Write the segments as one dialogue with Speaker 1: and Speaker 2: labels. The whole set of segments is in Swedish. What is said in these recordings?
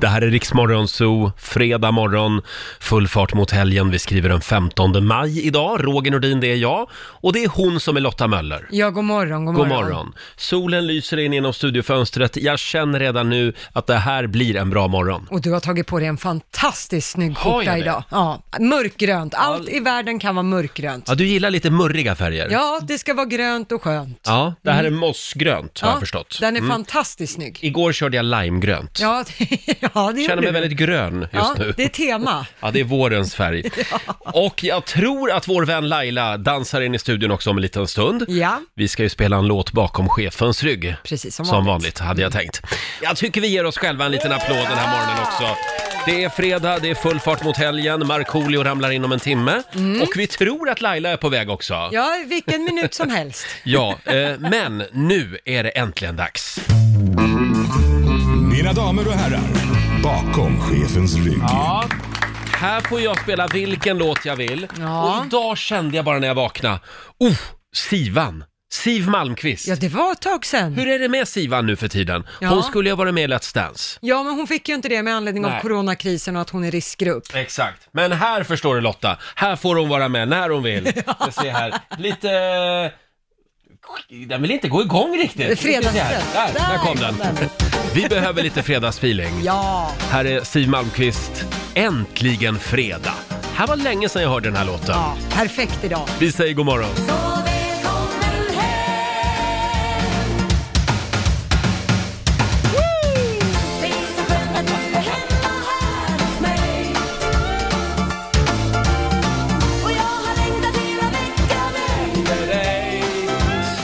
Speaker 1: Det här är Riksmorgon Zoo, fredag morgon, full fart mot helgen. Vi skriver den 15 maj idag. Roger Nordin, det är jag. Och det är hon som är Lotta Möller.
Speaker 2: Ja, god morgon, god
Speaker 1: God
Speaker 2: morgon.
Speaker 1: morgon. Solen lyser in genom studiofönstret. Jag känner redan nu att det här blir en bra morgon.
Speaker 2: Och du har tagit på dig en fantastiskt snygg
Speaker 1: Har jag
Speaker 2: skjorta
Speaker 1: det?
Speaker 2: idag. Ja, mörkgrönt. Allt i världen kan vara mörkgrönt.
Speaker 1: Ja, du gillar lite murriga färger.
Speaker 2: Ja, det ska vara grönt och skönt.
Speaker 1: Ja, det här är mossgrönt har
Speaker 2: ja,
Speaker 1: jag förstått.
Speaker 2: Den är
Speaker 1: Mm.
Speaker 2: fantastiskt snygg.
Speaker 1: Igår körde jag limegrönt.
Speaker 2: Ja, ja det
Speaker 1: Känner mig
Speaker 2: gjorde du.
Speaker 1: väldigt grön just
Speaker 2: ja,
Speaker 1: nu.
Speaker 2: Det är tema.
Speaker 1: Ja, det är vårens färg. Och jag tror att vår vän Laila dansar in i studion också om en liten stund.
Speaker 2: Ja,
Speaker 1: Vi ska ju spela en låt bakom chefens rygg.
Speaker 2: precis som,
Speaker 1: Som
Speaker 2: vanligt.
Speaker 1: vanligt, hade jag tänkt. Jag tycker vi ger oss själva en liten applåd den här morgonen också. Det är fredag, det är full fart mot helgen, Markoolio ramlar in om en timme. Och vi tror att Laila är på väg också.
Speaker 2: Mm. Ja, vilken minut som helst.
Speaker 1: Ja, eh, men nu är det äntligen dags.
Speaker 3: Mina damer och herrar, bakom chefens rygg.
Speaker 1: Ja. Här får jag spela vilken låt jag vill.
Speaker 2: Ja.
Speaker 1: Och idag kände jag bara när jag vaknade, oh, Sivan! Siv Malmqvist.
Speaker 2: Ja, det var ett tag sedan.
Speaker 1: Hur är det med Sivan nu för tiden?
Speaker 2: Ja.
Speaker 1: Hon skulle ju ha varit med i Let's Dance.
Speaker 2: Ja, men hon fick ju inte det med anledning av
Speaker 1: Nej.
Speaker 2: coronakrisen och att hon är riskgrupp.
Speaker 1: Exakt. Men här förstår du Lotta, här får hon vara med när hon vill. Jag ser här, lite... Den vill inte gå igång riktigt.
Speaker 2: Fredags-
Speaker 1: Där, där, där kom den. Vi behöver lite fredagsfeeling.
Speaker 2: Ja,
Speaker 1: Här är Siv Malmqvist, Äntligen Fredag. Här var länge sedan jag hörde den här låten.
Speaker 2: ja, perfekt idag.
Speaker 1: Vi säger god morgon.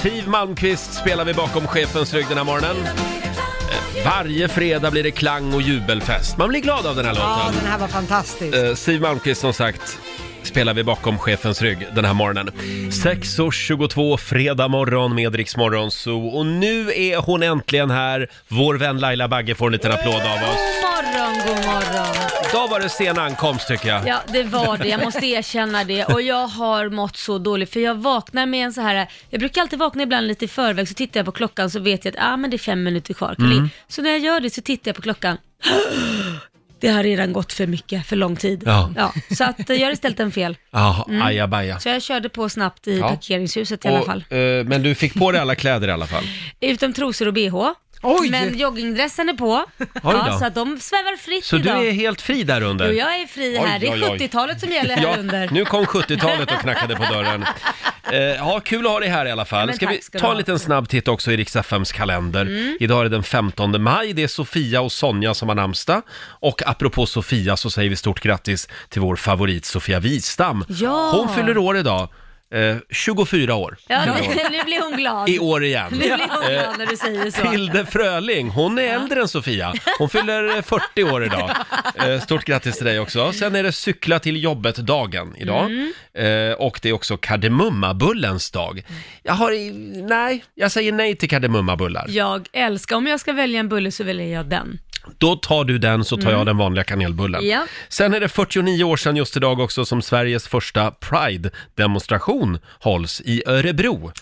Speaker 1: Siv Malmqvist spelar vi bakom chefens rygg den här morgonen. Varje fredag blir det klang och jubelfest. Man blir glad av den här
Speaker 2: Ja,
Speaker 1: låten.
Speaker 2: den här var fantastisk.
Speaker 1: Eh, Siv Malmqvist som sagt spelar vi bakom chefens rygg den här morgonen. 6.22 fredag morgon med Rix Morgon Zoo. Och nu är hon äntligen här. Vår vän Laila Bagge får en liten applåd av oss.
Speaker 4: God morgon, god morgon.
Speaker 1: Idag var det sen ankomst tycker jag.
Speaker 4: Ja, det var det. Jag måste erkänna det. Och jag har mått så dåligt för jag vaknar med en så här, jag brukar alltid vakna ibland lite i förväg, så tittar jag på klockan så vet jag att ah, men det är fem minuter kvar. Kan
Speaker 1: Mm.
Speaker 4: det- Så när jag gör det så tittar jag på klockan. Det har redan gått för mycket, för lång tid.
Speaker 1: Ja.
Speaker 4: så att eh, jag har istället en fel.
Speaker 1: Ja, ajabaja.
Speaker 4: Så jag körde på snabbt i
Speaker 1: Ja.
Speaker 4: parkeringshuset Mm. i alla fall.
Speaker 1: Och, eh, men du fick på dig alla kläder i alla fall.
Speaker 4: Utom trosor och bh.
Speaker 2: Oj!
Speaker 4: Men joggingdressen är på.
Speaker 1: då.
Speaker 4: Ja, så att de svävar fritt
Speaker 1: Så du
Speaker 4: idag.
Speaker 1: är helt fri där under?
Speaker 4: Jo, jag är fri här.
Speaker 1: Oj, oj, oj.
Speaker 4: Det är 70-talet som gäller här under.
Speaker 1: nu kom 70-talet och knackade på dörren. Eh, ja, kul att ha dig här i alla fall.
Speaker 4: men
Speaker 1: Ska
Speaker 4: tack
Speaker 1: vi
Speaker 4: ska du
Speaker 1: ta en
Speaker 4: ha. Mm.
Speaker 1: liten snabb titt också i Riks-FMs kalender. Idag är det den 15 maj, det är Sofia och Sonja som har namnsdag. Och apropå Sofia så säger vi stort grattis till vår favorit Sofia Wistam.
Speaker 4: Ja.
Speaker 1: Hon fyller år idag, eh, 24 år.
Speaker 4: Ja,
Speaker 1: fyller hon.
Speaker 4: nu blir hon glad.
Speaker 1: I år Eh, igen.
Speaker 4: Nu blir hon glad när du säger så.
Speaker 1: Tilde Fröling, hon är äldre än Sofia. Hon fyller eh, 40 år idag. Eh, Stort grattis till dig också. Sen är det cykla till jobbet-dagen idag. Eh, Och det är också kardemummabullens dag. Jag har, i- nej, jag säger nej till kardemummabullar.
Speaker 4: Jag älskar, om jag ska välja en bulle så väljer jag den.
Speaker 1: Då tar du den så tar jag den vanliga kanelbullen.
Speaker 4: Ja.
Speaker 1: Sen är det 49 år sedan just idag också som Sveriges första Pride-demonstration hålls i Örebro.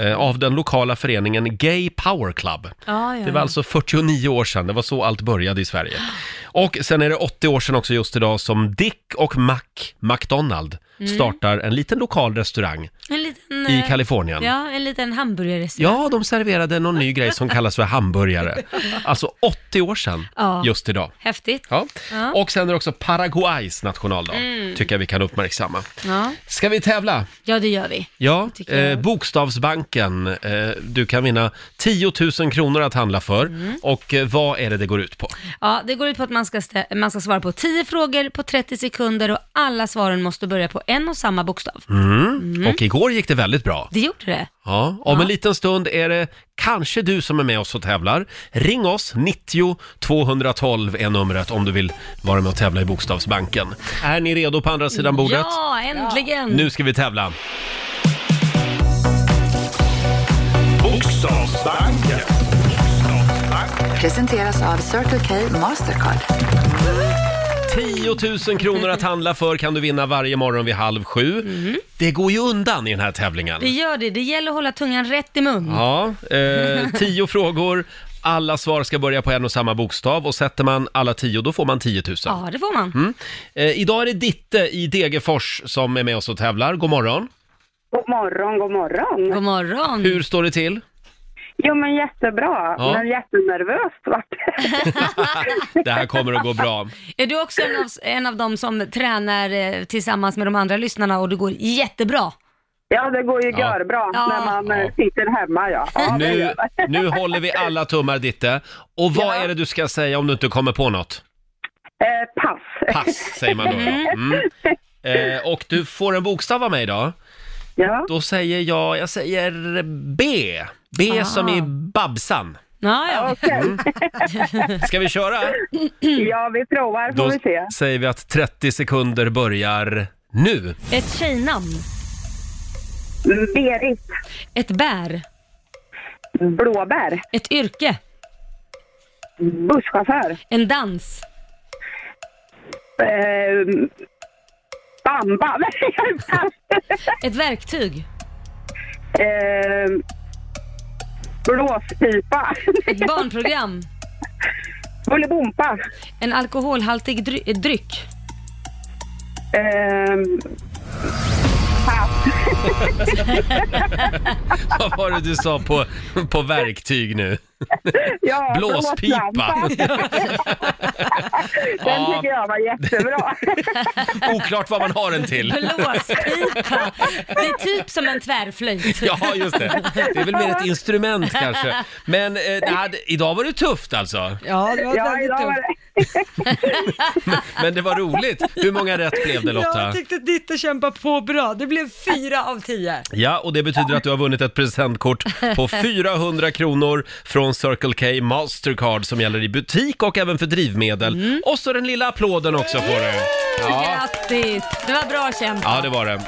Speaker 1: Eh, Av den lokala föreningen Gay Power Club.
Speaker 4: Ja, ja,
Speaker 1: Det var
Speaker 4: ja.
Speaker 1: alltså 49 år sedan, det var så allt började i Sverige. Och sen är det 80 år sedan också just idag som Dick och Mac McDonald startar en liten lokal restaurang
Speaker 4: En liten,
Speaker 1: i
Speaker 4: eh,
Speaker 1: Kalifornien.
Speaker 4: Mm. Ja, en liten hamburgerrestaurang.
Speaker 1: Ja, de serverade någon ny grej som kallas för hamburgare. Alltså 80 år sedan
Speaker 4: Ja.
Speaker 1: just idag.
Speaker 4: Häftigt.
Speaker 1: Ja.
Speaker 4: Ja. Mm.
Speaker 1: Och sen är det också Paraguays nationaldag, tycker jag vi kan uppmärksamma.
Speaker 4: Ja.
Speaker 1: Ska vi tävla?
Speaker 4: ja, det gör vi.
Speaker 1: Ja,
Speaker 4: tycker jag.
Speaker 1: eh, Bokstavsbanken. Eh, du kan vinna 10 000 kronor att handla för.
Speaker 4: Mm.
Speaker 1: Och eh, vad är det det går ut på?
Speaker 4: Ja, det går ut på att man ska, stä- man ska svara på 10 frågor på 30 sekunder och alla svaren måste börja på en och samma bokstav.
Speaker 1: Mm.
Speaker 4: Mm.
Speaker 1: Och igår gick det väldigt bra.
Speaker 4: Det gjorde det.
Speaker 1: Ja, om en liten stund är det kanske du som är med oss och tävlar. Ring oss, 90 212 är numret om du vill vara med och tävla i Bokstavsbanken. Är ni redo på andra sidan bordet?
Speaker 4: Ja, äntligen!
Speaker 1: Nu ska vi tävla.
Speaker 3: Bokstavsbanken.
Speaker 5: Presenteras av Circle K Mastercard.
Speaker 1: 10 000 kronor att handla för kan du vinna varje morgon vid halv sju.
Speaker 4: Mm.
Speaker 1: Det går ju undan i den här tävlingen.
Speaker 4: Det gör det. Det gäller att hålla tungan rätt i mun.
Speaker 1: Ja, eh, tio frågor. Alla svar ska börja på en och samma bokstav och sätter man alla tio då får man 10 000.
Speaker 4: Ja, det får man.
Speaker 1: Eh, idag är det Ditte i Degerfors som är med oss och tävlar. God morgon.
Speaker 6: God morgon, god morgon.
Speaker 4: God morgon.
Speaker 1: Hur står det till?
Speaker 6: Jo men jättebra,
Speaker 1: Ja.
Speaker 6: men jättenervöst vart det.
Speaker 1: Det här kommer att gå bra.
Speaker 4: Är du också en av, en av dem som tränar eh, tillsammans med de andra lyssnarna och det går jättebra?
Speaker 6: Ja det går ju
Speaker 1: Ja.
Speaker 6: görbra
Speaker 4: Ja.
Speaker 6: när man
Speaker 1: Ja.
Speaker 6: eh, sitter hemma ja. ja det
Speaker 1: Nu,
Speaker 6: gör det.
Speaker 1: nu håller vi alla tummar Ditte. Och vad
Speaker 6: Ja.
Speaker 1: är det du ska säga om du inte kommer på något?
Speaker 6: Eh, pass.
Speaker 1: Pass, säger man då. ja. Mm. Eh, och du får en bokstav av mig idag.
Speaker 6: Ja.
Speaker 1: Då säger jag, jag säger B. B
Speaker 4: Ah.
Speaker 1: som i Babsan.
Speaker 4: Ja, ja.
Speaker 6: Okej,
Speaker 1: Ska vi köra?
Speaker 6: ja vi provar får
Speaker 1: Då
Speaker 6: vi se.
Speaker 1: säger vi att 30 sekunder börjar nu.
Speaker 4: Ett tjejnamn.
Speaker 6: Berit,
Speaker 4: Ett bär.
Speaker 6: blåbär,
Speaker 4: Ett yrke.
Speaker 6: busschaufför,
Speaker 4: En dans.
Speaker 6: eh, bamba, pass.
Speaker 4: Ett verktyg.
Speaker 6: eh, blåspipa,
Speaker 4: Ett barnprogram.
Speaker 6: bullybompa,
Speaker 4: En alkoholhaltig dry- eh, dryck.
Speaker 6: eh, pass,
Speaker 1: Vad var det du sa på, på verktyg nu?
Speaker 6: ja,
Speaker 1: Blåspipa.
Speaker 6: blåslampa. Den
Speaker 1: Ja.
Speaker 6: tycker jag var jättebra.
Speaker 1: Oklart vad man har den till.
Speaker 4: Blåspipa. Det är typ som en tvärflöjt.
Speaker 1: Ja, just det. Det är väl mer ett instrument kanske. Men eh, nej, det- idag var det tufft alltså.
Speaker 2: Ja, det var
Speaker 6: Ja,
Speaker 2: väldigt
Speaker 6: idag var
Speaker 2: dumt.
Speaker 6: det.
Speaker 1: Men det var roligt. Hur många rätt blev det Lotta?
Speaker 2: Jag tyckte Ditte kämpade på bra. Det blev fyra av tio.
Speaker 1: Ja, och det betyder att du har vunnit ett presentkort på 400 kronor från Circle K Mastercard som gäller i butik och även för drivmedel. Och så den lilla applåden också får du. Ja.
Speaker 4: Grattis. Det var bra kämpat.
Speaker 1: ja, det var det.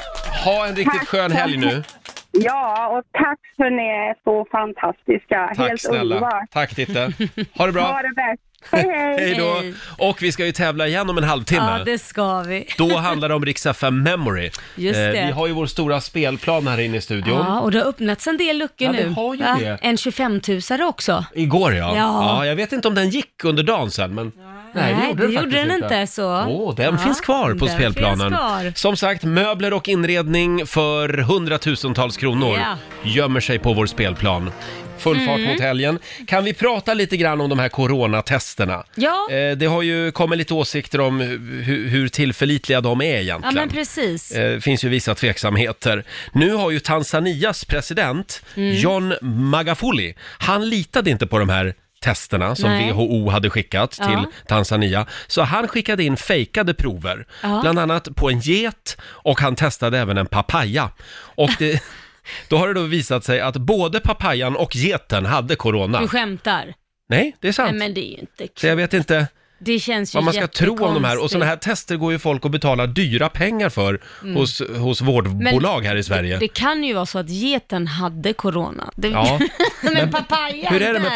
Speaker 1: Ha en riktigt skön helg nu.
Speaker 6: Ja, och tack för ni är så fantastiska.
Speaker 1: Tack
Speaker 6: Helt
Speaker 1: snälla.
Speaker 6: underbart.
Speaker 1: Tack Ditte. Ha det
Speaker 6: Ha
Speaker 1: bra.
Speaker 6: det bäst. Hej, hej.
Speaker 1: Hej då.
Speaker 4: Hej.
Speaker 1: Och vi ska ju tävla igen om en
Speaker 4: Ja,
Speaker 1: halvtimme.
Speaker 4: det ska vi.
Speaker 1: Då handlar det om Rix FM Memory. Eh,
Speaker 4: Just det.
Speaker 1: vi har ju vår stora spelplan här inne i studion.
Speaker 4: Ja, och det har öppnats en del luckor
Speaker 1: Ja, det
Speaker 4: nu.
Speaker 1: har ju
Speaker 4: Va?
Speaker 1: det.
Speaker 4: En 25-tusare också.
Speaker 1: Igår ja.
Speaker 4: Ja.
Speaker 1: Jag vet inte om den gick under dagen sen, men nej, det gjorde den, faktiskt
Speaker 4: den inte. så.
Speaker 1: Åh, den
Speaker 4: Ja,
Speaker 1: finns kvar på
Speaker 4: den
Speaker 1: spelplanen.
Speaker 4: finns kvar.
Speaker 1: Som sagt, möbler och inredning för hundratusentals kronor
Speaker 4: Ja. Mm.
Speaker 1: gömmer sig på vår spelplan. Full fart mot helgen. Kan vi prata lite grann om de här coronatesterna?
Speaker 4: Ja.
Speaker 1: Eh, det har ju kommit lite åsikter om hur, hur tillförlitliga de är egentligen.
Speaker 4: Ja, men precis.
Speaker 1: Eh, finns ju vissa tveksamheter. Nu har ju Tanzanias president
Speaker 4: Mm.
Speaker 1: John Magafuli, han litade inte på de här testerna som
Speaker 4: Nej.
Speaker 1: WHO hade skickat
Speaker 4: Ja.
Speaker 1: till Tanzania. Så han skickade in fejkade prover,
Speaker 4: Ja.
Speaker 1: bland annat på en get och han testade även en papaya. Och det, då har det då visat sig att både papayan och geten hade corona.
Speaker 4: Du skämtar?
Speaker 1: Nej, det är sant.
Speaker 4: Nej, men det är ju inte
Speaker 1: Så
Speaker 4: kul.
Speaker 1: jag vet inte
Speaker 4: Det känns ju
Speaker 1: vad man ska tro om de här. Och sådana här tester går ju folk att betala dyra pengar för hos, hos vårdbolag här i Sverige.
Speaker 4: Mm. Det, det kan ju vara så att geten hade corona. Det,
Speaker 1: Ja.
Speaker 4: men, papayan
Speaker 1: Hur är det med
Speaker 4: där,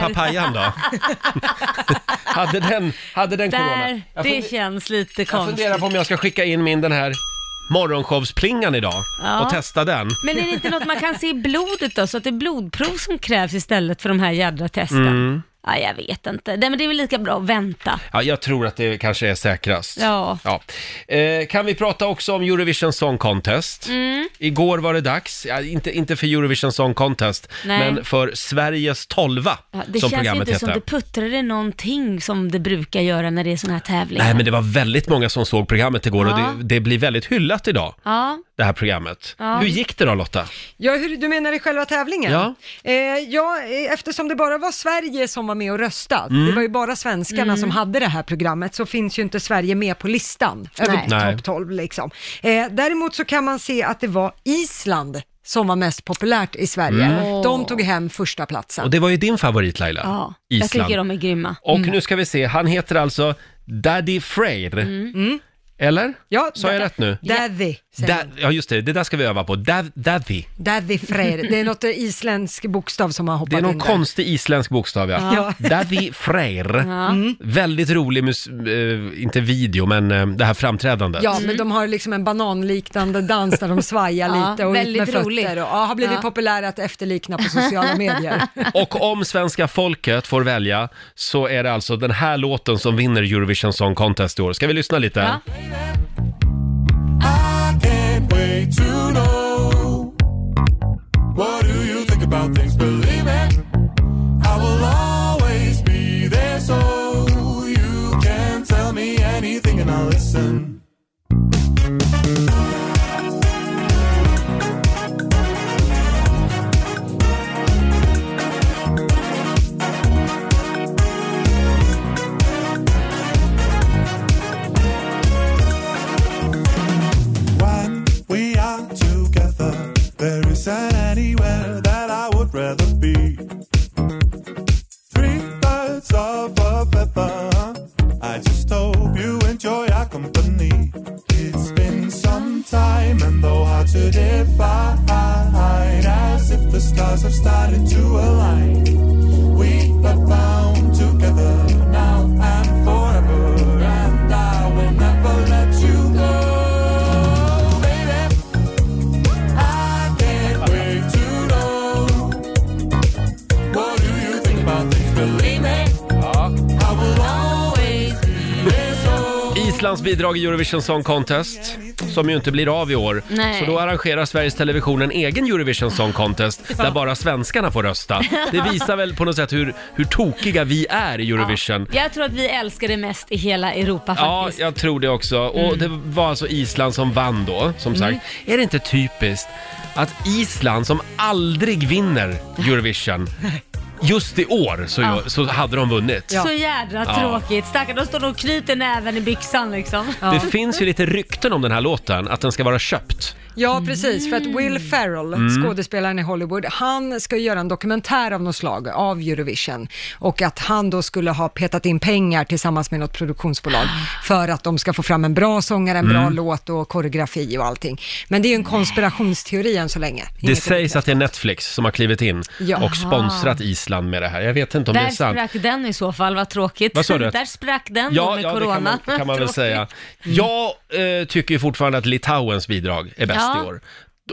Speaker 1: papayan då? hade den, hade den corona?
Speaker 4: Där,
Speaker 1: Jag,
Speaker 4: det
Speaker 1: funde-
Speaker 4: känns lite
Speaker 1: jag
Speaker 4: konstigt.
Speaker 1: funderar på om jag ska skicka in min den här morgonshowsplingan idag
Speaker 4: Ja.
Speaker 1: och testa den.
Speaker 4: Men är det inte något man kan se i blodet då? Så att det är blodprov som krävs istället för de här jädra testen?
Speaker 1: Mm.
Speaker 4: Ja, jag vet inte. Nej, men det är väl lika bra att vänta.
Speaker 1: Ja, jag tror att det kanske är säkrast.
Speaker 4: Ja.
Speaker 1: Eh, kan vi prata också om Eurovision Song Contest?
Speaker 4: Mm.
Speaker 1: Igår var det dags, ja, inte, inte för Eurovision Song Contest,
Speaker 4: Nej.
Speaker 1: men för Sveriges tolva,
Speaker 4: Ja, det
Speaker 1: som
Speaker 4: känns ju
Speaker 1: programmet
Speaker 4: inte
Speaker 1: hette.
Speaker 4: som det puttrade någonting som det brukar göra när det är sådana här tävlingar.
Speaker 1: Nej, men det var väldigt många som såg programmet igår
Speaker 4: Ja.
Speaker 1: och det, det blir väldigt hyllat idag,
Speaker 4: Ja,
Speaker 1: det här programmet.
Speaker 4: Ja.
Speaker 1: Hur gick det då Lotta?
Speaker 2: Ja, hur, du menar i själva tävlingen?
Speaker 1: Ja.
Speaker 2: Eh, ja, eh, eftersom det bara var Sverige som var med och röstade,
Speaker 1: Mm.
Speaker 2: det var ju bara svenskarna som hade det här programmet, så finns ju inte Sverige med på listan
Speaker 4: Nej.
Speaker 1: Nej.
Speaker 2: över topp 12 liksom. Eh, däremot så kan man se att det var Island som var mest populärt i Sverige. De tog hem första platsen.
Speaker 1: Mm. Och det var ju din favorit Laila,
Speaker 4: ja. jag
Speaker 1: Island.
Speaker 4: tycker de är grymma.
Speaker 1: Och nu ska vi se, han
Speaker 4: Mm.
Speaker 1: heter alltså Daddy Freyr. Eller?
Speaker 2: Ja,
Speaker 1: Sa jag
Speaker 2: da-
Speaker 1: rätt nu?
Speaker 2: Daddy.
Speaker 4: säger
Speaker 1: Da, ja, just det. Det där ska vi öva på. Da, Davi.
Speaker 2: Daddy Freyr. Det är något isländsk bokstav som har hoppat
Speaker 1: Det är någon
Speaker 2: in där.
Speaker 1: konstig isländsk bokstav, ja.
Speaker 2: Ja.
Speaker 1: Davi Freyr.
Speaker 4: Mm.
Speaker 1: Väldigt rolig, mus- eh, inte video, men eh, det här framträdandet.
Speaker 2: Ja, men de har liksom en bananliknande dans där de svajar
Speaker 4: Mm. Ja,
Speaker 2: lite och ut
Speaker 4: väldigt
Speaker 2: med fötter.
Speaker 4: roligt.
Speaker 2: Och, ja, har blivit
Speaker 4: Ja.
Speaker 2: populära att efterlikna på sociala medier.
Speaker 1: Och om svenska folket får välja så är det alltså den här låten som vinner Eurovision Song Contest i år. Ska vi lyssna lite?
Speaker 4: Ja.
Speaker 3: Can't wait to know. What do you think about things? Believe it. I will always be there so you can tell me anything and I'll listen. When we are together, there isn't anywhere that I would rather be. Three birds of a feather. I just hope you enjoy our company. It's been some time, and though hard to define, as if the stars have started to align. We are bound together now and forever, and I will never let you go, baby. I can't wait to know. What do you think about things? Believe me, I will always be there. So.
Speaker 1: Islands bidrag i Eurovision Song Contest, som ju inte blir av i år.
Speaker 4: Nej.
Speaker 1: Så då arrangerar Sveriges Television en egen Eurovision Song Contest, där bara svenskarna får rösta. Det visar väl på något sätt hur, hur tokiga vi är i Eurovision.
Speaker 4: Jag tror att vi älskar det mest i hela Europa
Speaker 1: Ja,
Speaker 4: faktiskt. Mm.
Speaker 1: jag tror det också. Och det var alltså Island som vann då, som sagt. Är det inte typiskt att Island, som aldrig vinner Eurovision, just i år så, så hade de vunnit.
Speaker 4: Så jädra tråkigt. Stackarn, de står nog och knyter näven i byxan liksom.
Speaker 1: Det finns ju lite rykten om den här låten, att den ska vara köpt.
Speaker 4: Mm.
Speaker 2: Ja, precis. För att Will Ferrell, skådespelaren i Hollywood, han ska ju göra en dokumentär av något slag av Eurovision. Och att han då skulle ha petat in pengar tillsammans med något produktionsbolag för att de ska få fram en bra sångare, en bra
Speaker 4: Mm.
Speaker 2: låt och koreografi och allting. Men det är ju en konspirationsteori än så länge.
Speaker 1: Det
Speaker 2: Inget är
Speaker 1: sägs att det är Netflix som har klivit in
Speaker 2: Ja.
Speaker 1: och sponsrat Island med det här. Jag vet inte om det är
Speaker 4: Där
Speaker 1: sant.
Speaker 4: sprack den i så fall, vad tråkigt.
Speaker 1: Vad sa du?
Speaker 4: Där sprack den då
Speaker 1: Ja,
Speaker 4: med
Speaker 1: ja det
Speaker 4: corona.
Speaker 1: kan man, kan man väl
Speaker 4: Tråkigt. Mm.
Speaker 1: säga. Jag eh, tycker ju fortfarande att Litauens bidrag är bäst
Speaker 4: Ja.
Speaker 1: i år.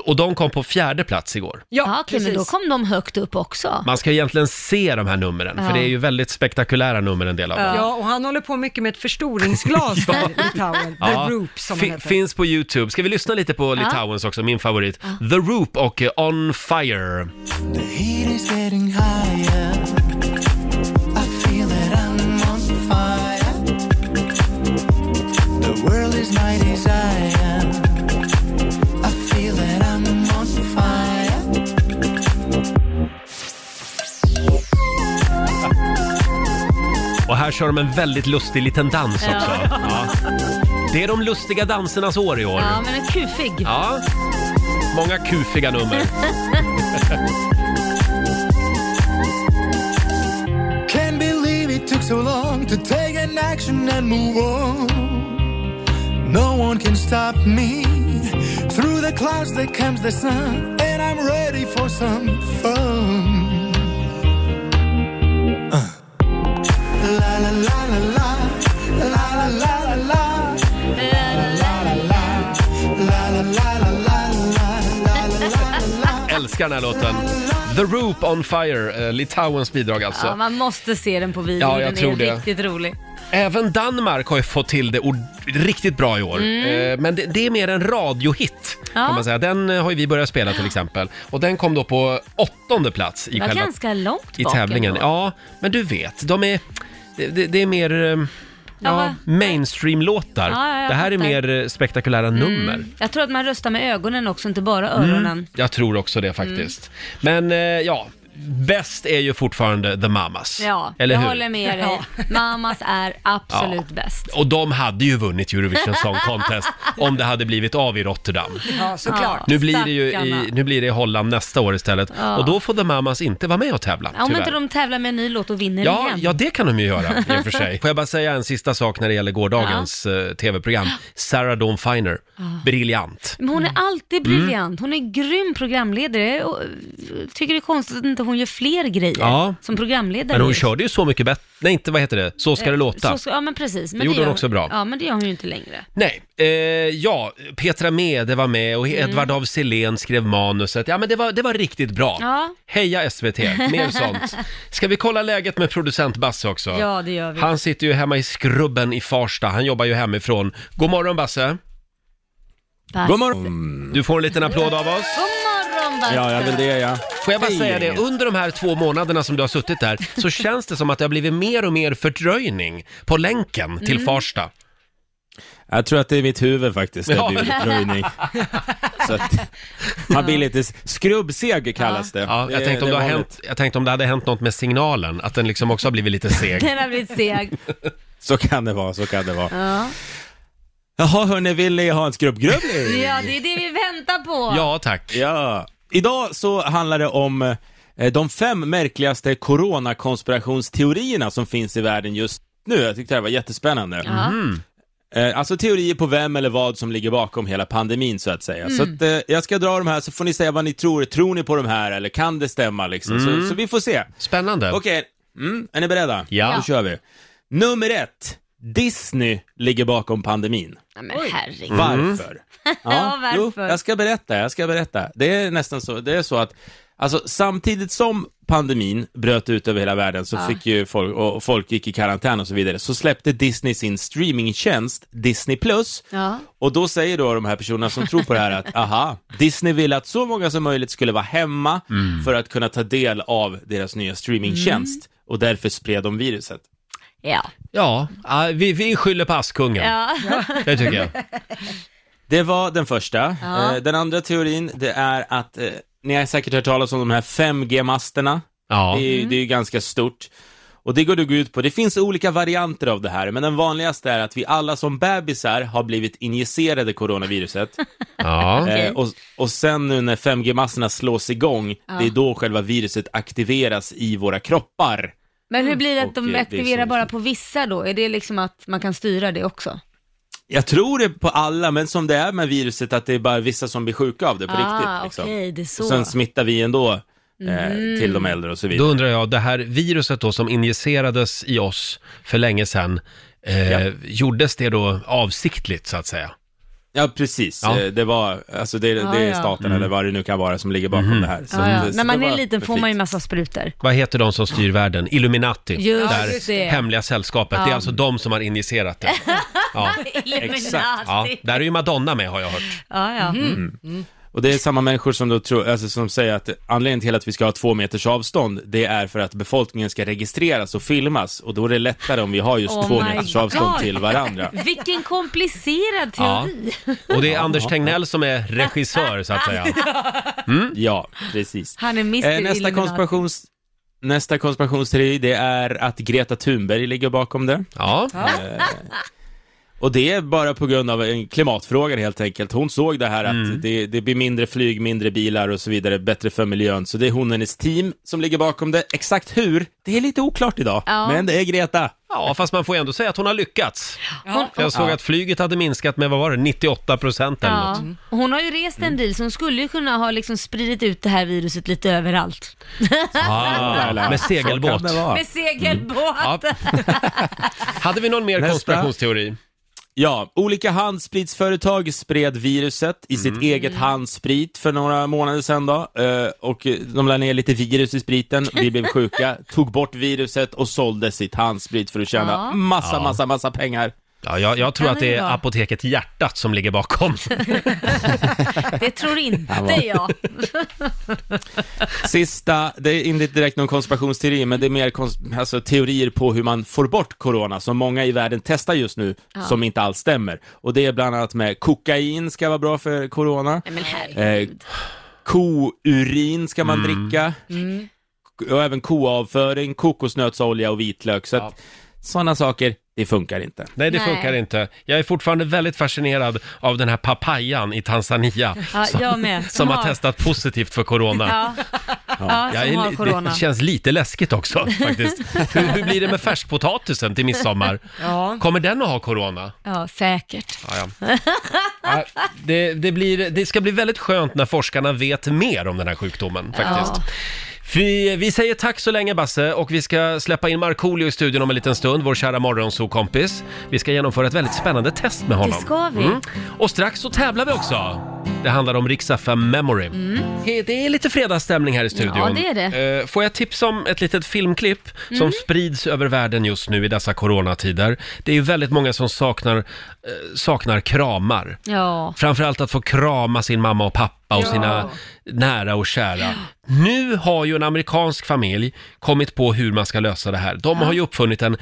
Speaker 1: Och de kom på fjärde plats igår.
Speaker 2: Ja,
Speaker 4: Ja, okej, men då
Speaker 2: precis.
Speaker 4: kom de högt upp också.
Speaker 1: Man ska egentligen se de här numren,
Speaker 4: Ja.
Speaker 1: för det är ju väldigt spektakulära nummer en del av dem.
Speaker 2: Ja, och han håller på mycket med ett förstoringsglas där, Litauen. The Roop som han
Speaker 1: Fin-
Speaker 2: heter.
Speaker 1: finns på YouTube. Ska vi lyssna lite på Litauens också, min favorit. The Roop och eh, On Fire.
Speaker 7: The heat is getting higher. I feel it, I'm on fire. The world is my desire. I feel it, I'm on fire.
Speaker 1: Och här kör de en väldigt lustig liten dans
Speaker 4: Ja.
Speaker 1: också. Ja. Det är de lustiga dansernas år i år.
Speaker 4: Ja, men en kufig.
Speaker 1: Ja, många kufiga nummer.
Speaker 7: Can't believe it took so long to take an action and move on. No one can stop me. Through the clouds there comes the sun, and I'm ready for some fun. Uh. La la la la la, la la la la la, la la la la la la la la la la.
Speaker 1: Älskar den här låten. The Roop On Fire, eh, Litauens bidrag alltså.
Speaker 4: Ja, man måste se den på video,
Speaker 1: Ja, jag
Speaker 4: den
Speaker 1: tror
Speaker 4: är
Speaker 1: det.
Speaker 4: riktigt rolig.
Speaker 1: Även Danmark har ju fått till det ord- riktigt bra i år. Eh, Men det, det är mer en radiohit,
Speaker 4: Mm. Ja.
Speaker 1: kan man säga. Den eh, har ju vi börjat spela till exempel. Och den kom då på åttonde plats i
Speaker 4: Det var
Speaker 1: själva
Speaker 4: ganska långt
Speaker 1: i
Speaker 4: bak
Speaker 1: tävlingen.
Speaker 4: ändå.
Speaker 1: Ja, men du vet, de är... Det, det, det är mer... eh, Ja,
Speaker 4: va?
Speaker 1: mainstream-låtar.
Speaker 4: Ja, ja, jag
Speaker 1: det här är
Speaker 4: fattar. Mm.
Speaker 1: mer eh, spektakulära nummer.
Speaker 4: Jag
Speaker 1: Mm.
Speaker 4: tror att man röstar med ögonen också, inte bara öronen.
Speaker 1: Jag tror också det faktiskt. Men eh, ja, bäst är ju fortfarande The Mamas.
Speaker 4: Ja,
Speaker 1: eller
Speaker 4: jag
Speaker 1: hur?
Speaker 4: håller med dig. Mamas är absolut
Speaker 1: Ja.
Speaker 4: bäst.
Speaker 1: Och de hade ju vunnit Eurovision Song Contest om det hade blivit av i Rotterdam.
Speaker 2: Ja, såklart.
Speaker 1: Nu blir det ju i,
Speaker 4: Stackarna.
Speaker 1: nu blir det i Holland nästa år istället.
Speaker 4: Ja.
Speaker 1: Och då får The Mamas inte vara med och tävla,
Speaker 4: Ja, om
Speaker 1: tyvärr.
Speaker 4: inte de tävlar med en ny låt och vinner
Speaker 1: Ja,
Speaker 4: igen.
Speaker 1: ja, det kan de ju göra i och för sig. Får jag bara säga en sista sak när det gäller gårdagens eh, tv-program. Sarah Dawn Finer, briljant.
Speaker 4: Men hon är alltid
Speaker 1: Mm.
Speaker 4: briljant. Hon är grym programledare. Och eh, tycker det är konstigt att inte hon gör fler grejer
Speaker 1: Ja.
Speaker 4: som programledare.
Speaker 1: Men hon körde ju Så mycket bättre, nej inte vad heter det, Så ska det låta.
Speaker 4: Eh, Så ska, ja, men precis. Men
Speaker 1: Det gjorde
Speaker 4: gör
Speaker 1: hon också bra.
Speaker 4: Ja, men det gör hon ju inte längre.
Speaker 1: Nej, eh, ja, Petra Mede var med och
Speaker 4: Mm.
Speaker 1: Edvard af Sillén skrev manuset. Ja, men det var, det var riktigt bra.
Speaker 4: Ja.
Speaker 1: Heja SVT, mer sånt. Ska vi kolla läget med producent Basse också?
Speaker 4: Ja, det gör vi.
Speaker 1: Han sitter ju hemma i skrubben i Farsta, han jobbar ju hemifrån. God morgon Basse,
Speaker 4: Pass.
Speaker 8: God morgon!
Speaker 1: du får en liten applåd av oss.
Speaker 4: God morgon, Basse.
Speaker 8: Ja, jag vill det ja.
Speaker 1: Får jag bara
Speaker 8: Hej,
Speaker 1: säga det,
Speaker 8: gänget.
Speaker 1: under de här två månaderna som du har suttit där så känns det som att det har blivit mer och mer fördröjning på länken
Speaker 4: Mm.
Speaker 1: till Farsta.
Speaker 8: Jag tror att det är mitt huvud faktiskt, det
Speaker 1: Ja.
Speaker 8: har blivit röjning. Så att, man blir lite, skrubbseg kallas det.
Speaker 1: Ja, jag,
Speaker 8: Det-
Speaker 1: tänkte om
Speaker 8: det
Speaker 1: det
Speaker 8: är
Speaker 1: har
Speaker 8: vanligt.
Speaker 1: hänt, jag tänkte om det hade hänt något med signalen, att den liksom också har blivit lite seg.
Speaker 4: Den har blivit seg.
Speaker 8: Så kan det vara, så kan det vara.
Speaker 4: Ja.
Speaker 8: Jaha hörni, vill ni ha en skrubbgrubbling?
Speaker 4: ja, det är det vi väntar på.
Speaker 1: Ja, tack.
Speaker 8: Ja. Idag så handlar det om eh, de fem märkligaste coronakonspirationsteorierna som finns i världen just nu. Jag tyckte det här var jättespännande.
Speaker 4: Ja.
Speaker 1: Mm.
Speaker 8: Eh, Alltså teorier på vem eller vad som ligger bakom hela pandemin så att säga. Så
Speaker 4: Mm.
Speaker 8: att, eh, jag ska dra de här så får ni säga vad ni tror. Tror ni på de här eller kan det stämma liksom?
Speaker 1: Mm.
Speaker 8: Så, så vi får se.
Speaker 1: Spännande.
Speaker 8: Okej, mm, är ni beredda?
Speaker 1: Ja.
Speaker 8: Då kör vi. Nummer ett. Disney ligger bakom pandemin.
Speaker 4: Nej, men herregud.
Speaker 8: Varför?
Speaker 4: Mm. Ja,
Speaker 8: jo,
Speaker 4: varför?
Speaker 8: jag ska berätta, jag ska berätta. Det är nästan så, det är så att, alltså samtidigt som pandemin bröt ut över hela världen så fick ju folk, och folk gick i karantän och så vidare, så släppte Disney sin streamingtjänst Disney+. Plus.
Speaker 4: Ja.
Speaker 8: Och då säger då de här personerna som tror på det här att, ah, aha, Disney ville att så många som möjligt skulle vara hemma för att kunna ta del av deras nya streamingtjänst.
Speaker 4: Mm.
Speaker 8: Och därför spred de viruset.
Speaker 4: Ja.
Speaker 1: Ja, ah, vi, vi skyller på Askungen.
Speaker 4: ja.
Speaker 1: Det tycker jag.
Speaker 8: Det var den första.
Speaker 4: Ja.
Speaker 8: Eh, Den andra teorin, det är att eh, ni har säkert hört talas om de här 5G-masterna.
Speaker 1: Ja.
Speaker 8: Det, är, det är ju ganska stort. Och det går det att gå ut på. Det finns olika varianter av det här, men den vanligaste är att vi alla som bebisar har blivit injicerade coronaviruset.
Speaker 1: ja.
Speaker 8: Eh, och, och sen nu när 5G-massorna slås igång, det är då själva viruset aktiveras i våra kroppar.
Speaker 4: Men hur blir det att
Speaker 8: Och, eh,
Speaker 4: de
Speaker 8: det är
Speaker 4: aktiverar
Speaker 8: så-
Speaker 4: bara på vissa då? Är det liksom att man kan styra det också?
Speaker 8: Jag tror det på alla, men som det är med viruset, att det är bara vissa som blir sjuka av det på riktigt. Liksom.
Speaker 4: Ah, Okej, det är så. Mm.
Speaker 8: Och sen smittar vi ändå eh, till de äldre och så
Speaker 1: Då
Speaker 8: vidare.
Speaker 1: undrar jag, det här viruset då som injicerades i oss för länge sedan, eh,
Speaker 8: Ja.
Speaker 1: gjordes det då avsiktligt så att säga?
Speaker 8: Ja, precis.
Speaker 1: Ja.
Speaker 8: Eh, Det var, alltså det, det är
Speaker 4: Ah, ja. Ah,
Speaker 8: staten eller vad det nu kan vara som ligger bakom det här. Så
Speaker 4: ja,
Speaker 8: att,
Speaker 4: ja.
Speaker 8: eh,
Speaker 4: När
Speaker 8: så
Speaker 4: man
Speaker 8: det
Speaker 4: är
Speaker 8: var
Speaker 4: liten får man ju
Speaker 8: fint.
Speaker 4: massa sprutor.
Speaker 1: Vad heter de som styr världen? Illuminati.
Speaker 4: Just
Speaker 1: där
Speaker 4: det.
Speaker 1: hemliga sällskapet. Det är alltså de som har injicerat det. Ja.
Speaker 4: Illuminati.
Speaker 1: Ja, där är ju Madonna med har jag hört.
Speaker 4: Ja, ja.
Speaker 8: Och det är samma människor som, då tror, alltså, som säger att anledningen till att vi ska ha två meters avstånd, det är för att befolkningen ska registreras och filmas och då är det lättare om vi har just
Speaker 4: Oh
Speaker 8: två
Speaker 4: my
Speaker 8: meters avstånd
Speaker 4: God.
Speaker 8: till varandra.
Speaker 4: Mm. Vilken komplicerad
Speaker 1: Ja.
Speaker 4: teori.
Speaker 1: Och det är Anders Tegnell som är regissör så att säga.
Speaker 8: Ja, precis.
Speaker 4: Han är Mr
Speaker 8: Eh, nästa,
Speaker 4: Illuminati.
Speaker 8: konspirations, nästa konspirationsteori, det är att Greta Thunberg ligger bakom det.
Speaker 1: Ja,
Speaker 8: Och det är bara på grund av en klimatfråga helt enkelt. Hon såg det här att det, det blir mindre flyg, mindre bilar och så vidare, bättre för miljön. Så det är hon och hennes team som ligger bakom det. Exakt hur, det är lite oklart idag.
Speaker 4: Ja.
Speaker 8: Men det är Greta.
Speaker 1: ja fast man får ju ändå säga att hon har lyckats.
Speaker 4: Hon,
Speaker 1: För jag såg att flyget hade minskat med, vad var det, 98 procent eller något.
Speaker 4: ja. hon har ju rest
Speaker 8: Mm.
Speaker 4: en deal så hon skulle ju kunna ha liksom spridit ut det här viruset lite överallt.
Speaker 1: Ah, med segelbåt.
Speaker 8: Kan det vara?
Speaker 4: Med segelbåt.
Speaker 1: Ja.
Speaker 8: Mm.
Speaker 1: Hade vi någon mer
Speaker 8: Nästa.
Speaker 1: konspirationsteori?
Speaker 8: Ja, olika handspritsföretag spred viruset i sitt eget handsprit för några månader sedan då. Eh, Och eh, de la ner lite virus i spriten, vi blev sjuka, tog bort viruset och sålde sitt handsprit för att tjäna
Speaker 4: Ja.
Speaker 8: massa,
Speaker 1: Ja.
Speaker 8: massa, massa pengar.
Speaker 1: Ja, jag, jag tror
Speaker 4: Ja,
Speaker 1: att
Speaker 4: men
Speaker 1: det
Speaker 4: det var-
Speaker 1: är apoteket Hjärtat som ligger bakom.
Speaker 4: Det tror inte jag.
Speaker 8: Sista, det är inte direkt någon konspirationsteori, men det är mer kons- alltså, teorier på hur man får bort corona, som många i världen testar just nu, som inte alls stämmer. Och det är bland annat med kokain ska vara bra för corona.
Speaker 4: Nej men herregud.
Speaker 9: Mm.
Speaker 8: Eh, kourin ska man dricka. och även koavföring, kokosnötsolja och vitlök. Så att sådana saker, det funkar inte.
Speaker 1: Nej, det
Speaker 4: Nej.
Speaker 1: funkar inte. Jag är fortfarande väldigt fascinerad av den här papayan i Tanzania
Speaker 4: Ja, jag med. Som,
Speaker 1: som har testat positivt för corona.
Speaker 4: Ja, ja.
Speaker 1: Jag
Speaker 4: som
Speaker 1: är
Speaker 4: har
Speaker 1: li-
Speaker 4: corona.
Speaker 1: det känns lite läskigt också faktiskt. hur, hur blir det med färskpotatisen till midsommar?
Speaker 2: Ja.
Speaker 1: Kommer den att ha corona?
Speaker 4: Ja, säkert.
Speaker 1: Ja, ja. Ja, det, det, blir, det ska bli väldigt skönt när forskarna vet mer om den här sjukdomen faktiskt. Vi, vi säger tack så länge Basse och vi ska släppa in Markoolio i studion om en liten stund, vår kära morgonsokompis. Vi ska genomföra ett väldigt spännande test med honom. Mm.
Speaker 4: Det ska vi.
Speaker 1: Och strax så tävlar vi också. Det handlar om Rix FM Memory.
Speaker 4: Mm.
Speaker 1: Det- Det är lite fredagsstämning här i studion.
Speaker 4: Ja, det är det. Mm.
Speaker 1: Eh, Får jag tipsa om ett litet filmklipp som sprids över världen just nu i dessa coronatider. Det är ju väldigt många som saknar, eh, saknar kramar.
Speaker 4: Ja.
Speaker 1: Framförallt att få krama sin mamma och pappa och
Speaker 2: Ja.
Speaker 1: sina nära och kära. Nu har ju en amerikansk familj kommit på hur man ska lösa det här. De har ju uppfunnit en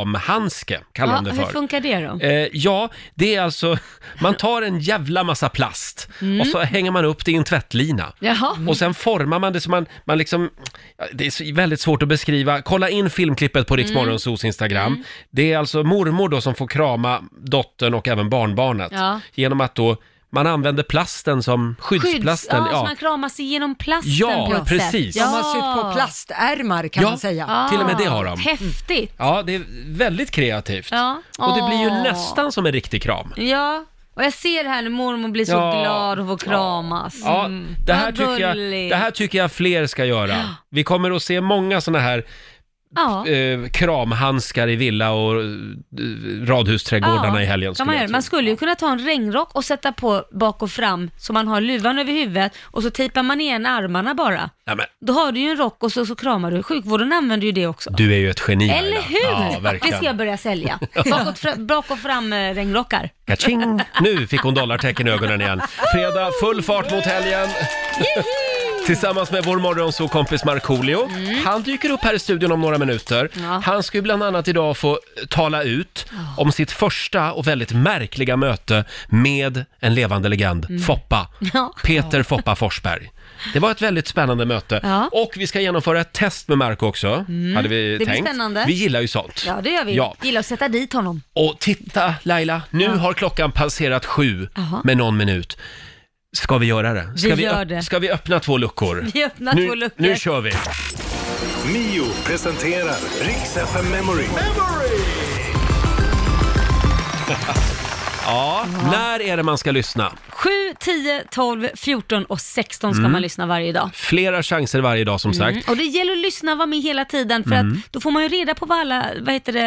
Speaker 1: kramhandske, kallar
Speaker 4: ja
Speaker 1: de det
Speaker 4: hur
Speaker 1: för.
Speaker 4: funkar det då?
Speaker 1: Eh, ja, det är alltså, man tar en jävla massa plast
Speaker 4: Mm.
Speaker 1: och så hänger man upp det i en tvättlina.
Speaker 4: Jaha.
Speaker 1: Mm. Och sen formar man det så man, man liksom, ja, det är så- väldigt svårt att beskriva. Kolla in filmklippet på
Speaker 4: Mm.
Speaker 1: Riksmorgonsos Instagram. Det är alltså mormor då som får krama dottern och även barnbarnet.
Speaker 4: Ja.
Speaker 1: Genom att då, man använder plasten som skyddsplasten.
Speaker 4: Skydds- ja, så man kramar sig genom plasten
Speaker 1: Ja,
Speaker 4: på ett
Speaker 1: precis.
Speaker 4: sätt.
Speaker 1: Ja.
Speaker 2: De har sytt på plastärmar kan
Speaker 1: Ja.
Speaker 2: man säga.
Speaker 4: Ah,
Speaker 1: Till och med det har de.
Speaker 4: Häftigt.
Speaker 1: Ja, det är väldigt kreativt.
Speaker 4: Ja.
Speaker 1: Och det blir ju
Speaker 4: Åh. Mm.
Speaker 1: nästan som en riktig kram.
Speaker 4: Ja, och jag ser här när mormor blir så
Speaker 1: Ja.
Speaker 4: glad och får kramas. Mm.
Speaker 1: Ja, det här,
Speaker 4: Vad
Speaker 1: tycker jag,
Speaker 4: gulligt.
Speaker 1: det här tycker jag fler ska göra. Vi kommer att se många såna här
Speaker 4: Ja.
Speaker 1: eh, kramhandskar i villa och eh, radhusträdgårdarna i helgen.
Speaker 4: kan
Speaker 1: skulle
Speaker 4: man,
Speaker 1: jag
Speaker 4: göra.
Speaker 1: tro.
Speaker 4: man skulle ju kunna ta en regnrock och sätta på bak och fram så man har luvan över huvudet och så tejpar man igen armarna bara.
Speaker 1: Nej, men,
Speaker 4: Då har du ju en rock och så, så kramar du. Sjukvården använder ju det också.
Speaker 1: du är ju ett geni Laila.
Speaker 4: Eller hur?
Speaker 1: Ja,
Speaker 4: det ska jag
Speaker 1: verkligen.
Speaker 4: börja sälja. Bak och, fra- bak och fram eh, regnrockar.
Speaker 1: Kaching! Nu fick hon dollartecken i ögonen igen. Fredag, full fart mot helgen. Tillsammans med vår morgonsokompis Markoolio. Han dyker upp här i studion om några minuter.
Speaker 4: Mm. Ja.
Speaker 1: Han ska ju bland annat idag få tala ut om sitt första och väldigt märkliga möte med en levande legend, Foppa.
Speaker 4: Mm. Ja.
Speaker 1: Peter Foppa Forsberg. Det var ett väldigt spännande möte.
Speaker 4: Ja. Mm.
Speaker 1: Och vi ska genomföra ett test med Marco också, hade vi
Speaker 4: Det blir
Speaker 1: tänkt.
Speaker 4: spännande.
Speaker 1: Vi gillar ju sånt.
Speaker 4: Ja, det gör vi.
Speaker 1: Ja.
Speaker 4: Gillar att sätta dit honom.
Speaker 1: Och titta Laila, nu har klockan passerat sju
Speaker 4: Jaha.
Speaker 1: med någon minut. Ska vi göra det? Ska
Speaker 4: Vi
Speaker 1: ö-
Speaker 4: gör det.
Speaker 1: Ska vi öppna två luckor?
Speaker 4: Vi öppnar
Speaker 1: nu,
Speaker 4: två luckor.
Speaker 1: Nu kör vi!
Speaker 10: Mio presenterar Rix FM Memory.
Speaker 1: Ja, när är det man ska lyssna?
Speaker 4: 7, 10, 12, 14 och 16 ska
Speaker 1: Mm.
Speaker 4: man lyssna varje dag.
Speaker 1: Flera chanser varje dag som sagt.
Speaker 4: Mm. Och det gäller att lyssna och vara med hela tiden för
Speaker 1: Mm.
Speaker 4: att då får man ju reda på vad alla, vad heter det,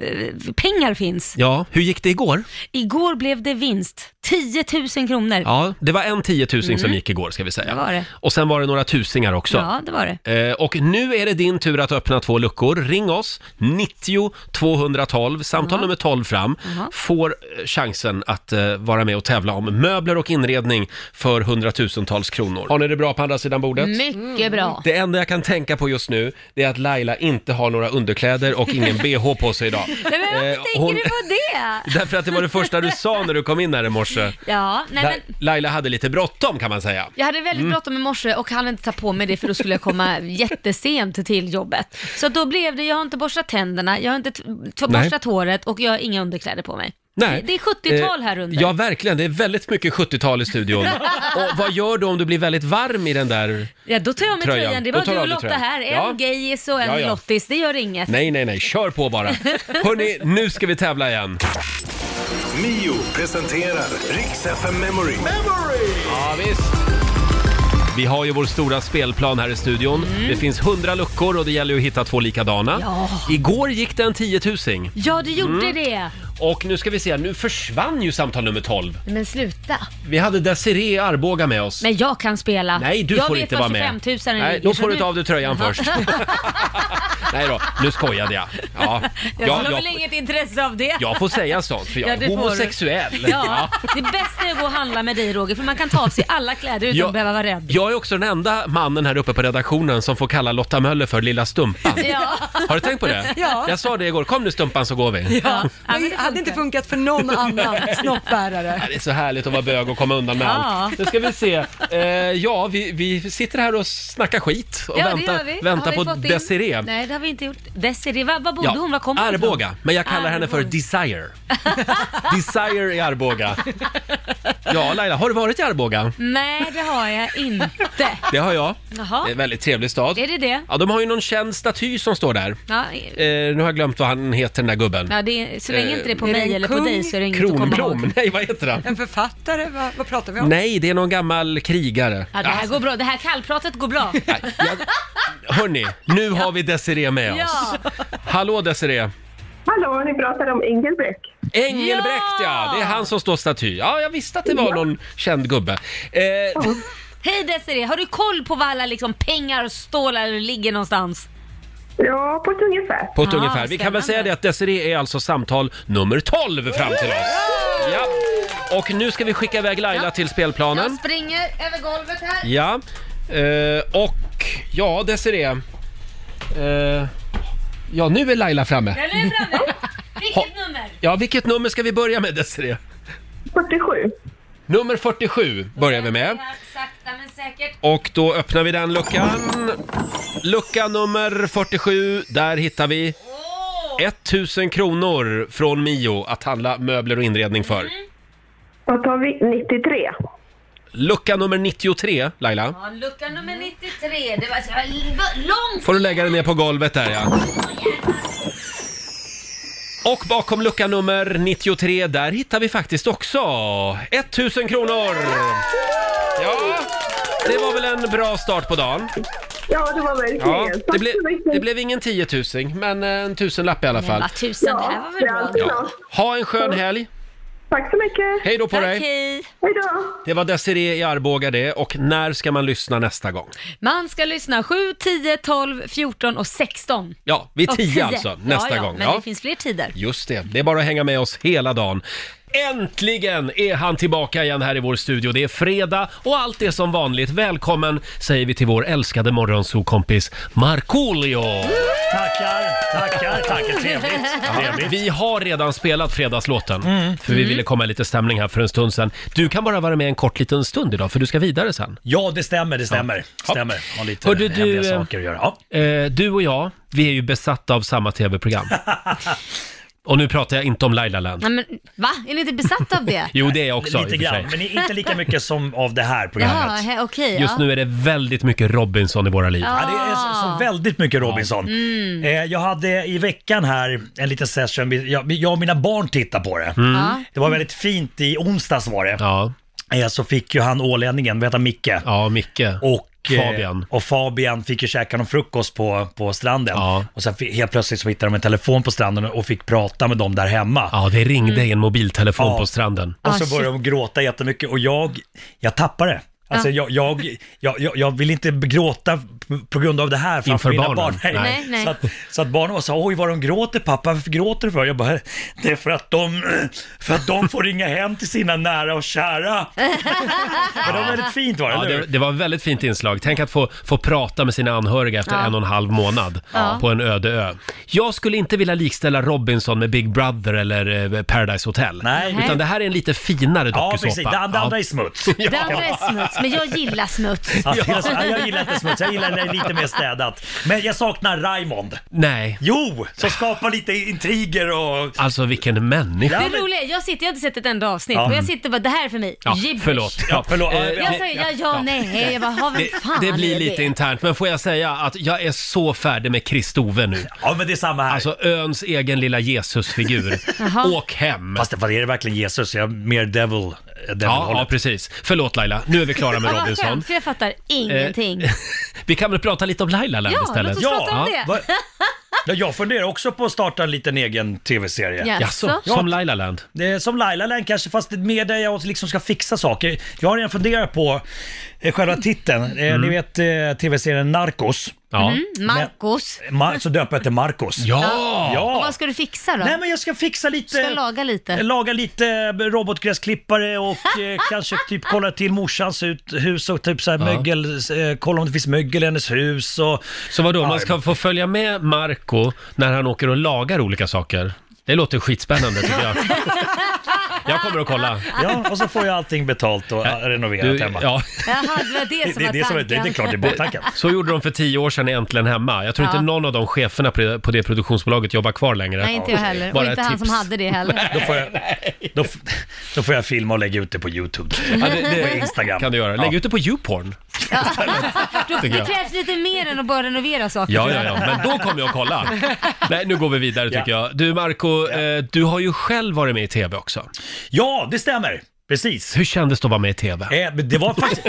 Speaker 4: eh, pengar finns.
Speaker 1: Ja, hur gick det igår?
Speaker 4: Igår blev det vinst, 10 000 kronor.
Speaker 1: Ja, det var en tiotusing som gick igår ska vi säga.
Speaker 4: Mm. Det var det.
Speaker 1: Och sen var det några tusingar också.
Speaker 4: Ja, det var det.
Speaker 1: Eh, Och nu är det din tur att öppna två luckor. Ring oss, 90 212, samtal nummer 12 fram, får eh, chansen att eh, vara med och tävla om möbler och inredning för hundratusentals kronor. Har ni det bra på andra sidan bordet?
Speaker 4: Mycket bra.
Speaker 1: Det enda jag kan tänka på just nu, det är att Laila inte har några underkläder och ingen bh på sig idag.
Speaker 4: Nej, men varför
Speaker 1: Eh,
Speaker 4: tänker
Speaker 1: hon-
Speaker 4: du på det?
Speaker 1: Därför att det var det första du sa när du kom in här i morse.
Speaker 4: Ja, nej
Speaker 1: La-
Speaker 4: men
Speaker 1: Laila hade lite bråttom kan man säga.
Speaker 4: jag hade
Speaker 1: Mm.
Speaker 4: väldigt bråttom i morse och hann inte ta på mig det för då skulle jag komma jättesent till jobbet. Så då blev det, jag har inte borstat tänderna, jag har inte t- t-
Speaker 1: Nej.
Speaker 4: borstat håret och jag har inga underkläder på mig.
Speaker 1: Nej.
Speaker 4: Det, det är 70-tal
Speaker 1: Eh,
Speaker 4: här under.
Speaker 1: Ja, verkligen. Det är väldigt mycket 70-tal i studion. och vad gör du om du blir väldigt varm i den där...
Speaker 4: Ja, då tar jag med
Speaker 1: Tröjan.
Speaker 4: tröjan. Det är
Speaker 1: Då tar
Speaker 4: bara
Speaker 1: du
Speaker 4: du
Speaker 1: av
Speaker 4: och
Speaker 1: dig
Speaker 4: Lotta
Speaker 1: tröjan.
Speaker 4: här. En
Speaker 1: Ja.
Speaker 4: gejis och en
Speaker 1: Ja, ja.
Speaker 4: lottis, det gör inget.
Speaker 1: Nej, nej, nej. Kör på bara. Hörni, nu ska vi tävla igen.
Speaker 10: Mio presenterar Rix FM Memory.
Speaker 1: Ja, visst. Vi har ju vår stora spelplan här i studion. Det finns 100 luckor och det gäller ju att hitta två likadana.
Speaker 4: Mm. Ja.
Speaker 1: Igår gick det en 10 000
Speaker 4: Ja, du gjorde
Speaker 1: Mm.
Speaker 4: det.
Speaker 1: och nu ska vi se, nu försvann ju samtal nummer 12.
Speaker 4: Men sluta.
Speaker 1: Vi hade Desiree i Arboga med oss.
Speaker 4: Men jag kan spela.
Speaker 1: Nej, du
Speaker 4: jag
Speaker 1: får
Speaker 4: vet
Speaker 1: inte
Speaker 4: var
Speaker 1: vara med.
Speaker 4: 25 000
Speaker 1: Nej, då får du ta av dig tröjan först. Nej då, nu skojade jag. Ja,
Speaker 4: Jag
Speaker 1: ja,
Speaker 4: har väl
Speaker 1: jag,
Speaker 4: inget intresse av det.
Speaker 1: jag får säga sånt för jag
Speaker 4: Ja, det
Speaker 1: är
Speaker 4: får du.
Speaker 1: homosexuell.
Speaker 4: Ja, det bästa är att gå och handla med dig Roger, för man kan ta av sig alla kläder utan
Speaker 1: Jag-
Speaker 4: att behöva vara rädd.
Speaker 1: Jag är också den enda mannen här uppe på redaktionen som får kalla Lotta Möller för Lilla Stumpan.
Speaker 4: Ja.
Speaker 1: Har du tänkt på det?
Speaker 2: Ja.
Speaker 1: Jag sa det igår, kom nu Stumpan så går vi.
Speaker 4: Ja.
Speaker 2: Men det hade inte funkat för någon annan snoppbärare.
Speaker 1: Det är så härligt att vara bög och komma undan med
Speaker 4: Ja.
Speaker 1: allt. Nu ska vi se. Eh, ja, vi, vi sitter här och snackar skit och
Speaker 4: Ja, det
Speaker 1: väntar,
Speaker 4: gör vi.
Speaker 1: väntar
Speaker 4: Har vi
Speaker 1: på
Speaker 4: fått in-
Speaker 1: Desiree.
Speaker 4: Nej, det har vi inte gjort. Desiree, var, var bodde
Speaker 1: Ja,
Speaker 4: hon? Var kom hon ifrån?
Speaker 1: Arboga, men jag kallar henne för
Speaker 4: Arboga.
Speaker 1: Desire. Desire i Arboga. Ja, Laila, har du varit i Arboga?
Speaker 4: Nej, det har jag inte.
Speaker 1: Det har jag.
Speaker 4: Jaha.
Speaker 1: Det är en väldigt trevlig stad.
Speaker 4: Är det det?
Speaker 1: Ja, de har ju någon känd staty som står där.
Speaker 4: Ja,
Speaker 1: Eh, nu har jag glömt vad han heter, den där gubben.
Speaker 4: ja, det är, så länge inte det är på
Speaker 2: Är det
Speaker 4: mig
Speaker 2: en
Speaker 4: eller på
Speaker 2: kung?
Speaker 4: dig så är det inget att komma ihåg.
Speaker 1: eh, Kronblom? Nej, vad heter han?
Speaker 2: En författare, vad, vad pratar vi om?
Speaker 1: Nej, det är någon gammal krigare.
Speaker 4: Ja, det här går bra. Det här kallpratet går bra.
Speaker 1: Nej, jag... Hörni, nu har vi Desiree med oss.
Speaker 4: Ja.
Speaker 1: Hallå Desiree!
Speaker 6: Hallå, ni pratar om Engelbrekt.
Speaker 1: Engelbrekt ja.
Speaker 4: Ja!
Speaker 1: Det är han som står staty. Ja, jag visste att det var någon känd gubbe. Eh,
Speaker 4: Hej Desiree, har du koll på var alla liksom pengar och stålar ligger någonstans?
Speaker 6: Ja, på ett ungefär.
Speaker 1: på ett
Speaker 4: Ah,
Speaker 1: ungefär. Vi kan
Speaker 4: spännande.
Speaker 1: väl säga det att Desiree är alltså samtal nummer 12 fram till oss. Ja. Och nu ska vi skicka iväg Laila
Speaker 4: Ja.
Speaker 1: till spelplanen.
Speaker 4: springer över golvet här.
Speaker 1: Ja. Eh, och ja, Desiree. Eh, ja, nu är Laila framme.
Speaker 4: Den är framme.
Speaker 1: Ha-
Speaker 4: Vilket nummer?
Speaker 1: Ja, vilket nummer ska vi börja med Desiree?
Speaker 6: 47.
Speaker 1: Nummer 47 börjar vi med.
Speaker 4: Sakta men säkert.
Speaker 1: Och då öppnar vi den luckan. Lucka nummer 47, där hittar vi 1000 kronor från Mio att handla möbler och inredning för.
Speaker 6: Då tar vi 93.
Speaker 1: Lucka nummer 93, Laila.
Speaker 4: Ja, lucka nummer 93. Det var så långt.
Speaker 1: Får du lägga den ner på golvet där ja. Och bakom lucka nummer 93, där hittar vi faktiskt också 1000 kronor! Ja, det var väl en bra start på dagen.
Speaker 6: Ja, det var verkligen.
Speaker 1: Ja,
Speaker 6: Tack
Speaker 1: det, ble,
Speaker 6: så mycket.
Speaker 1: det blev ingen 10 000, men en tusenlapp i alla fall.
Speaker 4: Ja, tusen. det här var väl
Speaker 6: det är
Speaker 4: bra.
Speaker 6: alltid bra.
Speaker 1: Ha en skön helg!
Speaker 6: Tack så mycket.
Speaker 1: Hej då på
Speaker 4: Tack,
Speaker 1: dig!
Speaker 4: hej.
Speaker 6: Hej då.
Speaker 1: Det var Desiree i Arboga det, och när ska man lyssna nästa gång?
Speaker 4: Man ska lyssna 7, 10, 12, 14 och 16.
Speaker 1: Ja, vid
Speaker 4: Och
Speaker 1: 10 alltså, nästa
Speaker 4: ja, ja,
Speaker 1: gång.
Speaker 4: Men det finns fler tider.
Speaker 1: Just det, det är bara att hänga med oss hela dagen. Äntligen är han tillbaka igen här i vår studio. Det är fredag och allt är som vanligt. Välkommen säger vi till vår älskade morgonsokompis Markoolio!
Speaker 9: Tackar, tackar, tackar. Trevligt. Trevligt.
Speaker 1: Vi har redan spelat fredagslåten,
Speaker 9: Mm.
Speaker 1: för vi ville komma i lite stämning här för en stund sedan. Du kan bara vara med en kort liten stund idag, för du ska vidare sen.
Speaker 9: Ja, det stämmer, det stämmer. Stämmer. Har lite
Speaker 1: Hörde du,
Speaker 9: hemliga
Speaker 1: eh,
Speaker 9: saker att göra. Ja.
Speaker 1: Eh, du och jag, vi är ju besatta av samma tv-program. Och nu pratar jag inte om Laila Land.
Speaker 4: Nej, men, va? Är ni inte besatta av det?
Speaker 1: Jo, det är jag också i och
Speaker 9: Lite
Speaker 1: för
Speaker 9: grann,
Speaker 1: sig.
Speaker 9: men inte lika mycket som av det här
Speaker 4: Jaha,
Speaker 9: programmet.
Speaker 4: he- okej.
Speaker 1: Just
Speaker 4: ja.
Speaker 1: nu är det väldigt mycket Robinson i våra liv.
Speaker 9: Ja, det är så, så väldigt mycket Robinson. Eh, jag hade i veckan här en liten session, vi- jag, jag och mina barn tittar på det.
Speaker 4: Ja.
Speaker 9: Det var väldigt fint, i onsdags var det.
Speaker 1: Mm. Ja,
Speaker 9: Eh, så fick ju han ålänningen, vad heter han, Micke?
Speaker 1: ja Micke.
Speaker 9: Och, eh,
Speaker 1: Fabian.
Speaker 9: och Fabian fick ju käka någon frukost på, på stranden.
Speaker 1: Ja.
Speaker 9: Och sen fi- helt plötsligt så hittade de en telefon på stranden och fick prata med dem där hemma.
Speaker 1: Ja, det ringde i en mobiltelefon
Speaker 9: Ja.
Speaker 1: på stranden.
Speaker 9: Och
Speaker 4: Ah,
Speaker 9: så
Speaker 4: shit. Ah.
Speaker 9: började de gråta jättemycket och jag, jag tappade det. Alltså jag, jag, jag, jag, jag vill inte gråta p- på grund av det här framför
Speaker 1: Inför
Speaker 9: mina barn.
Speaker 1: barnen? Nej.
Speaker 4: Nej, nej.
Speaker 9: Så, att, så att barnen var så oj vad de gråter pappa, varför gråter du för? Jag bara, det är för att de, för att de får ringa hem till sina nära och kära. Men det var väldigt fint var det,
Speaker 1: Ja,
Speaker 9: eller
Speaker 1: det,
Speaker 9: hur?
Speaker 1: det var ett väldigt fint inslag. Tänk att få, få prata med sina anhöriga efter
Speaker 4: Ja.
Speaker 1: en och en halv månad
Speaker 4: Ja.
Speaker 1: på en öde ö. Jag skulle inte vilja likställa Robinson med Big Brother eller eh, Paradise Hotel.
Speaker 9: Nej.
Speaker 1: Utan det här är en lite finare
Speaker 9: Ja,
Speaker 1: dokusåpa.
Speaker 9: precis. Det, det andra är smuts.
Speaker 4: Det andra är smuts, men jag gillar smuts.
Speaker 9: Ja, det är så- ja, jag gillar inte smuts, jag gillar när det är lite mer städat. Men jag saknar Raymond.
Speaker 1: Nej,
Speaker 9: Jo, som skapar lite intriger och...
Speaker 1: alltså vilken människa.
Speaker 9: Ja,
Speaker 4: Det
Speaker 9: men-
Speaker 4: roliga är, jag sitter, jag har inte sett ett enda avsnitt
Speaker 9: Ja.
Speaker 4: och jag sitter bara, det här är för mig,
Speaker 1: Ja,
Speaker 4: gibberish.
Speaker 1: förlåt.
Speaker 9: Ja, förlåt.
Speaker 1: Eh,
Speaker 9: Ja,
Speaker 4: Jag säger ja, ja, nej, jag bara, ha, vem fan
Speaker 1: det blir
Speaker 4: är
Speaker 1: lite internt, men får jag säga att jag är så färdig med Kristove nu.
Speaker 9: Ja, men det är samma här.
Speaker 1: Alltså öns egen lilla Jesusfigur.
Speaker 4: Jaha.
Speaker 1: Åk hem!
Speaker 9: Fast det, vad är det verkligen Jesus? Jag är mer devil, eh, devil
Speaker 1: Ja, ja,
Speaker 9: hållet.
Speaker 1: precis. Förlåt Laila, nu är vi klara med
Speaker 4: Ja, vad
Speaker 1: Robinson.
Speaker 4: skönt, för jag fattar ingenting.
Speaker 1: Vi kan väl prata lite om Laila Land
Speaker 4: Ja,
Speaker 1: istället?
Speaker 4: låt oss prata om
Speaker 1: Ja.
Speaker 4: det.
Speaker 9: Va- Ja, jag funderar också på att starta en liten egen tv-serie.
Speaker 4: Ja.
Speaker 1: Jaså,
Speaker 4: Alltså?
Speaker 1: som Laila Land?
Speaker 9: Det är som Laila Land kanske, fast med där jag liksom ska fixa saker.
Speaker 4: Mm.
Speaker 1: Mm.
Speaker 9: Jag har redan funderat på eh, själva titeln. Eh, Ni vet eh, tv-serien Narcos. Ja.
Speaker 4: Mm, Marcos.
Speaker 9: Ma- så döper jag till Marcos.
Speaker 4: Mm. Och
Speaker 9: ja.
Speaker 4: vad ska du fixa då?
Speaker 9: Nej men jag ska fixa lite. Eh,
Speaker 4: Ska laga lite?
Speaker 9: Laga lite robotgräsklippare och eh, kanske typ kolla till morsans ut, hus och typ så här
Speaker 1: Ja.
Speaker 9: mögel, eh, kolla om det finns mögel i hennes hus och...
Speaker 1: Så vadå, man ska få följa med Marco när han åker och lagar olika saker? Det låter skitspännande tycker jag. Jag kommer att kolla.
Speaker 9: Ja, och så får jag allting betalt och eh, renoverat
Speaker 1: Du-
Speaker 9: hemma.
Speaker 1: ja.
Speaker 4: Jaha, det var det som
Speaker 9: Det-
Speaker 4: var
Speaker 9: det är det som är-
Speaker 4: tanken.
Speaker 9: det är klart det är bara- Tackar.
Speaker 1: Så gjorde de för tio år sedan i Äntligen Hemma. Jag tror
Speaker 4: Ja.
Speaker 1: inte någon av de cheferna på på det produktionsbolaget jobbar kvar längre.
Speaker 4: Nej, inte jag heller.
Speaker 1: Bara
Speaker 4: och inte
Speaker 1: ett
Speaker 4: han
Speaker 1: tips.
Speaker 4: som hade det heller.
Speaker 9: Då får, jag, då, f- då får jag filma och lägga ut det på YouTube.
Speaker 1: Ja, det,
Speaker 9: På
Speaker 1: det
Speaker 9: Instagram.
Speaker 1: kan du göra. Lägg
Speaker 9: Ja.
Speaker 1: ut det på YouPorn.
Speaker 4: Då
Speaker 1: tycker
Speaker 4: det
Speaker 1: jag.
Speaker 4: krävs lite mer än att bara renovera saker.
Speaker 1: Ja,
Speaker 4: tror
Speaker 1: ja,
Speaker 4: jag.
Speaker 1: ja, men då kommer jag att kolla. Nej, nu går vi vidare tycker jag. Du Marco, eh, du har ju själv varit med i TV också.
Speaker 9: Ja, det stämmer. Precis.
Speaker 1: Hur kändes det att vara med i TV?
Speaker 9: Eh, men det var faktiskt...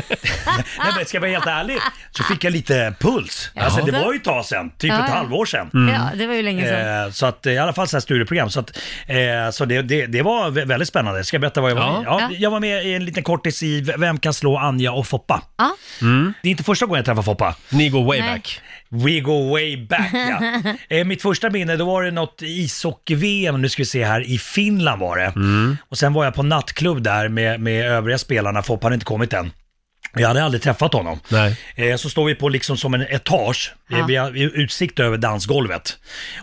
Speaker 9: Nej, men ska jag vara helt ärlig så fick jag lite puls. Alltså det var ju ett tag sedan, typ
Speaker 4: Ja,
Speaker 9: ett
Speaker 4: ja.
Speaker 9: halvår sedan.
Speaker 1: Mm.
Speaker 4: Ja, det var ju länge sedan.
Speaker 9: Eh, så att eh, i alla fall så här studieprogram. Så, att, eh, så det, det, det var vä- väldigt spännande. Ska jag berätta vad jag var
Speaker 1: Ja.
Speaker 9: med i? ja,
Speaker 4: Ja.
Speaker 9: Jag var med i en liten kortis i V- Vem kan slå Anja och Foppa?
Speaker 4: Ja.
Speaker 9: Mm. Det är inte första gången jag träffar Foppa.
Speaker 1: Ni går way
Speaker 4: Nej.
Speaker 1: back.
Speaker 9: We go way back ja. eh, mitt första minne, då var det något ishockey-VM, nu ska vi se här, i Finland var det.
Speaker 4: Mm.
Speaker 9: Och sen var jag på nattklubb där med, med övriga spelarna, Foppa hade inte kommit än. Jag hade aldrig träffat honom.
Speaker 1: Nej.
Speaker 9: Eh, Så står vi på liksom som en etage,
Speaker 4: Ja.
Speaker 9: ja. vi har utsikt över dansgolvet.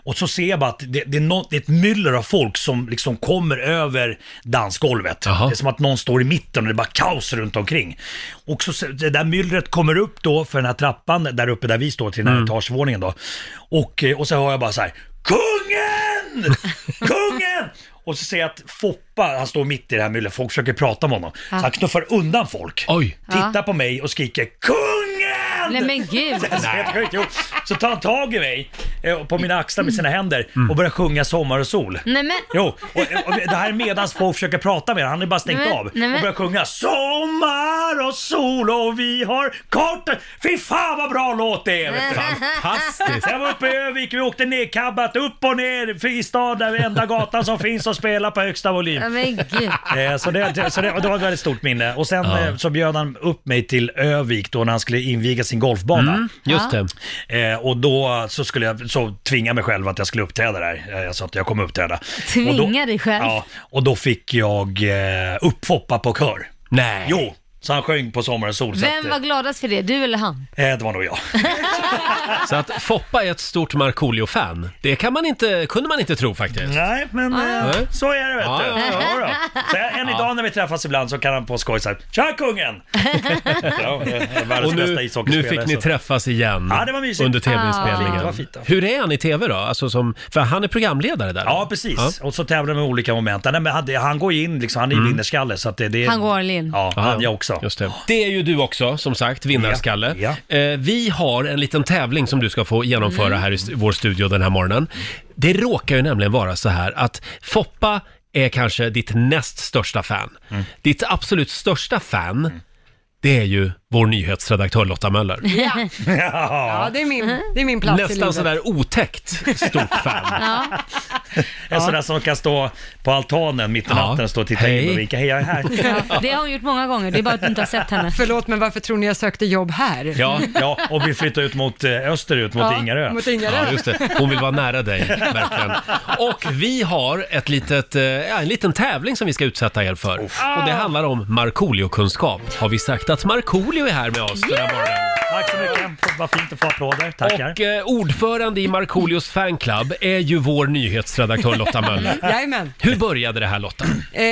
Speaker 9: Och så ser jag bara att det, det, är, nå- det är ett myller av folk som liksom kommer över dansgolvet.
Speaker 1: Jaha.
Speaker 9: Det är som att någon står i mitten och det är bara kaos runt omkring. Och så se- det där myllret kommer upp då för den här trappan där uppe där vi står till den
Speaker 1: Mm.
Speaker 9: här etagevåningen då. Och, eh, och så hör jag bara så här, KUNGEN! KUNGEN! Och så ser jag att Foppa, han står mitt i det här myllret, folk försöker prata med honom. Så han knuffar undan folk
Speaker 1: Oj.
Speaker 9: tittar på mig och skriker KUNGEN!
Speaker 4: Nej men gud.
Speaker 9: Så jag tänkte, jo. Så tar han tag i mig eh, och på mina axlar med sina händer och börjar sjunga Sommar och sol.
Speaker 4: Nej men,
Speaker 9: Jo, och, och det här är medans folk försöker prata med honom. Han är bara stängt
Speaker 4: Nej, men-
Speaker 9: av
Speaker 4: nej, men-
Speaker 9: och börjar sjunga Sommar och sol och vi har kort... Fy fan vad bra låt det är! vet du.
Speaker 1: Fantastiskt.
Speaker 9: Sen var uppe i Övik, vi åkte ner kabbat upp och ner Fristad, där enda gatan som finns och spela på högsta volym.
Speaker 4: nej men gud.
Speaker 9: Eh, Så, det, det- så det, och det var ett väldigt stort minne. Och sen eh, så bjöd han upp mig till Övik då när han skulle inviga sin golfbana.
Speaker 1: Mm, Just det.
Speaker 9: Eh, och då så skulle jag så tvinga mig själv att jag skulle uppträda där. Eh, Jag sa att jag kommer uppträda.
Speaker 4: Tvinga
Speaker 9: Och då-
Speaker 4: dig själv?
Speaker 9: Ja, och då fick jag eh, upp Foppa på kör.
Speaker 1: Nej.
Speaker 9: Jo, så han sjöng på Sommar och sol. så att,
Speaker 4: Vem var gladast för det? Du eller han?
Speaker 9: eh, det var nog jag.
Speaker 1: Så att Foppa är ett stort Markoolio-fan. Det kan man inte, kunde man inte tro faktiskt.
Speaker 9: Nej, men
Speaker 1: Nej.
Speaker 9: eh, så är det vet
Speaker 1: Ah. Ja,
Speaker 9: du.
Speaker 1: ja, Ah.
Speaker 9: Ja, då. så jag- än idag när vi träffas ibland så kan han på skoj såhär “Tja kungen!” ja, eh, Världens
Speaker 1: Och
Speaker 9: bästa
Speaker 1: nu, nu
Speaker 9: ishockeyspelare,
Speaker 1: fick ni
Speaker 9: så.
Speaker 1: träffas igen
Speaker 9: Ja, det var mysigt.
Speaker 1: under tv-inspelningen.
Speaker 9: Ja, det var fint, ja.
Speaker 1: Hur är han i tv då? Alltså som, för han är programledare där.
Speaker 9: Ja, precis. Och så tävlar de med olika moment. Nej, men han, det- han går ju in, liksom, han är ju vinnerskalle. Så att det, det,
Speaker 4: Han går all in.
Speaker 9: Ja,
Speaker 1: Mm. Ja,
Speaker 9: han, jag också.
Speaker 1: Just det. det är ju du också, som sagt, vinnarskalle.
Speaker 9: Ja,
Speaker 1: Eh, vi har en liten tävling som du ska få genomföra här i st- vår studio den här morgonen. Det råkar ju nämligen vara så här att Foppa är kanske ditt näst största fan. Ditt absolut största fan, det är ju vår nyhetsredaktör Lotta Möller.
Speaker 2: Ja, det är min, det är min plats i
Speaker 1: Nästan
Speaker 2: livet.
Speaker 1: sådär otäckt stort fan.
Speaker 9: En sån där som kan stå på altanen mitt i
Speaker 1: Ja.
Speaker 9: natten och stå och titta
Speaker 1: Hej.
Speaker 9: in och vinka. Hej, jag är här.
Speaker 4: Ja, det har hon gjort många gånger, det är bara att du inte har sett henne.
Speaker 2: Förlåt, men varför tror ni jag sökte jobb här?
Speaker 1: Ja.
Speaker 9: Ja, och vi flyttar ut mot eh, österut, mot
Speaker 2: Ja,
Speaker 9: Ingarö.
Speaker 2: Mot Ingarö.
Speaker 1: Ja, just det. Hon vill vara nära dig, verkligen. Och vi har ett litet, eh, ja, en liten tävling som vi ska utsätta er för. Och det handlar om Markoolio-kunskap. Har vi sagt att Markoolio är här med oss den här morgonen?
Speaker 9: Tack så mycket. Vad fint att få applåder. Tackar.
Speaker 1: Och eh, ordförande i Markoolios fanclub är ju vår nyhetsredaktör Lotta Möller.
Speaker 2: Jajamän.
Speaker 1: Hur började det här Lotta?
Speaker 2: Eh,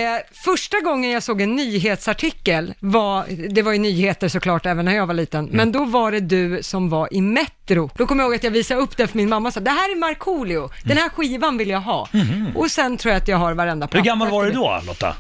Speaker 2: första gången jag såg en nyhetsartikel, var, det var ju nyheter såklart även när jag var liten,
Speaker 9: Mm.
Speaker 2: men då var det du som var i Metro. Då kommer jag ihåg att jag visade upp det för min mamma och sa, det här är Markoolio, den här skivan vill jag ha. Och sen tror jag att jag har varenda papper.
Speaker 9: Mhm. Hur gammal var du
Speaker 2: efter
Speaker 9: då, Lotta?
Speaker 2: det.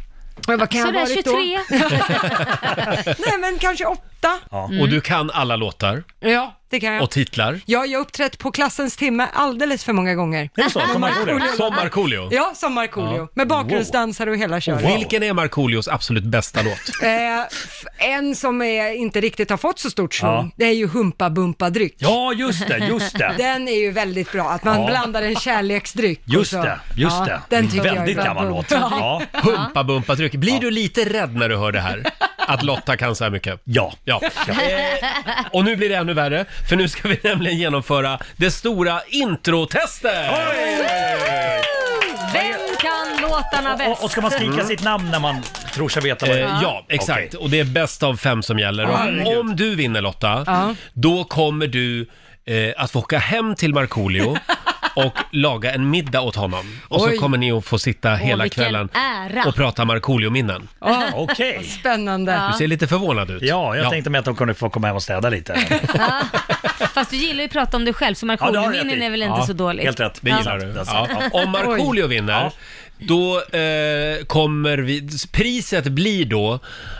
Speaker 2: Och jag bara, kan jag ha
Speaker 4: Sådär
Speaker 2: varit då?
Speaker 4: 23.
Speaker 2: Nej men kanske åtta.
Speaker 1: Mm. Och du kan alla låtar
Speaker 2: Ja, det kan jag.
Speaker 1: och titlar.
Speaker 2: Ja, jag har uppträtt på klassens timme alldeles för många gånger.
Speaker 9: Är det så? Som Markoolio?
Speaker 1: Som Markoolio.
Speaker 2: Ja, som Markoolio. Med bakgrundsdansare och hela
Speaker 9: Oh,
Speaker 2: köret.
Speaker 1: Vilken är Markoolios absolut bästa låt?
Speaker 2: Eh, f- en som är, inte riktigt har fått så stort svung,
Speaker 9: Ja.
Speaker 2: det är ju Humpa Bumpa Dryck.
Speaker 9: Ja, just det, just det.
Speaker 2: Den är ju väldigt bra, att man
Speaker 9: Ja.
Speaker 2: blandar en kärleksdryck. och
Speaker 9: Just
Speaker 2: så-
Speaker 9: det, just
Speaker 2: ja,
Speaker 9: det.
Speaker 2: Den tycker jag är
Speaker 9: Väldigt
Speaker 2: bra.
Speaker 9: gammal låt. Ja.
Speaker 1: Humpa bumpa tryck. Blir du lite rädd när du hör det här? att Lotta kan så här mycket.
Speaker 9: Ja.
Speaker 1: ja. Eh, Och nu blir det ännu värre, för nu ska vi nämligen genomföra det stora introtestet!
Speaker 4: Vem kan låtarna bäst?
Speaker 9: Och, och ska man skrika
Speaker 1: Mm.
Speaker 9: sitt namn när man tror sig veta vad
Speaker 1: Eh,
Speaker 9: det är?
Speaker 1: ja, exakt. Och det är bäst av fem som gäller.
Speaker 9: Ja,
Speaker 1: Och
Speaker 9: herregud.
Speaker 1: om du vinner Lotta,
Speaker 9: Ja.
Speaker 1: då kommer du eh, att få åka hem till Markoolio och laga en middag åt honom. Och
Speaker 2: Oj.
Speaker 1: så kommer ni att få sitta
Speaker 2: Åh,
Speaker 1: hela
Speaker 2: vilken
Speaker 1: kvällen
Speaker 2: ära.
Speaker 1: och prata Markoolio-minnen.
Speaker 2: Ja,
Speaker 9: Okej.
Speaker 2: vad Spännande.
Speaker 4: Ja.
Speaker 1: Du ser lite förvånad ut.
Speaker 9: Ja, jag tänkte mig att de kunde få komma hem och städa lite.
Speaker 4: Fast du gillar ju att prata om dig själv så
Speaker 9: Ja, det har du rätt
Speaker 4: Markoolio-minnen
Speaker 9: i.
Speaker 4: är väl inte
Speaker 9: Ja,
Speaker 4: så dålig?
Speaker 9: helt rätt.
Speaker 1: Det
Speaker 9: Ja.
Speaker 1: gillar du.
Speaker 9: Ja.
Speaker 1: Ja.
Speaker 9: Oj.
Speaker 1: Om Markoolio vinner, då eh, kommer vi... Priset blir då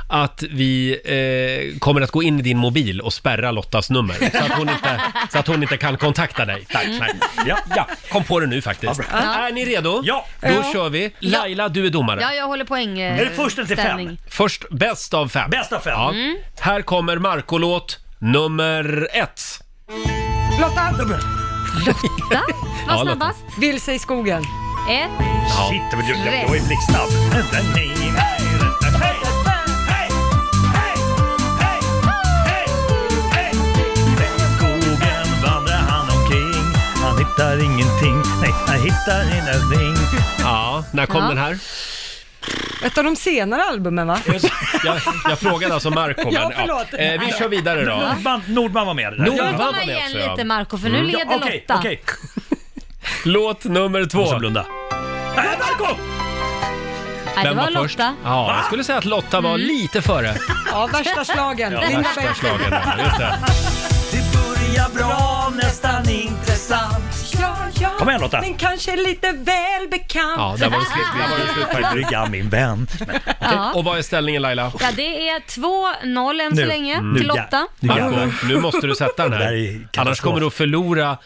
Speaker 1: att vi eh, kommer att gå in i din mobil och spärra Lottas nummer. Så att hon inte, så att hon inte kan kontakta dig. Tack, nej. Ja, ja, kom på det nu faktiskt.
Speaker 4: Ja.
Speaker 1: Är ni redo? Ja. Då
Speaker 4: Ja.
Speaker 1: kör vi. Laila, du är domare.
Speaker 4: Ja, jag håller poäng. eh, ställning.
Speaker 1: Först bäst av fem. Bäst av fem. Ja.
Speaker 4: Mm.
Speaker 1: Här kommer Marco-låt nummer ett.
Speaker 2: Lotta!
Speaker 4: Lotta?
Speaker 1: Ja,
Speaker 4: Var
Speaker 1: Lotta.
Speaker 4: snabbast?
Speaker 2: Vilse i skogen.
Speaker 4: Ett.
Speaker 1: Ja.
Speaker 9: Shit, det var ju- jag jag var ju blixtsnabb. Vänta, nej, nej, vänta, hej! Skogen vandrar han omkring. Han hittar ingenting. Nej, han hittar ingenting.
Speaker 1: Ja, när kom
Speaker 2: Ja.
Speaker 1: den här?
Speaker 2: Ett av de senare albumen va?
Speaker 1: Jag, jag frågade alltså Marco, men
Speaker 2: Ja,
Speaker 1: ja.
Speaker 2: förlåt.
Speaker 1: Eh, vi kör vidare då.
Speaker 9: Nordman, Nordman var med i det där.
Speaker 1: Nordman
Speaker 9: Ja.
Speaker 1: var
Speaker 4: Kom
Speaker 1: med också,
Speaker 4: igen
Speaker 1: ja.
Speaker 4: lite Marco för nu
Speaker 1: Mm.
Speaker 4: leder
Speaker 1: Ja, okej,
Speaker 4: Lotta.
Speaker 1: okej. Låt nummer två. Måste blunda.
Speaker 9: Nej, Äh, Marco!
Speaker 4: Nej, det var, Lotta. Mm.
Speaker 1: Ja, jag skulle säga att Lotta var lite före.
Speaker 2: Ja, värsta slagen.
Speaker 1: Ja,
Speaker 2: Linda
Speaker 1: värsta
Speaker 2: Bengtzing.
Speaker 1: slagen. där, Just det.
Speaker 9: Det börjar bra, nästan intressant.
Speaker 2: Ja, ja,
Speaker 9: Kom igen, Lotta.
Speaker 2: Men kanske lite väl bekant.
Speaker 1: Ja, där var det slut. Där var det slut faktiskt.
Speaker 9: Brygga min vän.
Speaker 4: Ja.
Speaker 1: Och vad är ställningen Laila?
Speaker 4: Ja, det är 2-0 än så länge
Speaker 1: Mm.
Speaker 4: till Lotta.
Speaker 1: Marco, nu måste du sätta den
Speaker 9: Det där
Speaker 1: här.
Speaker 9: är
Speaker 1: Annars
Speaker 9: katastrof.
Speaker 1: kommer du att förlora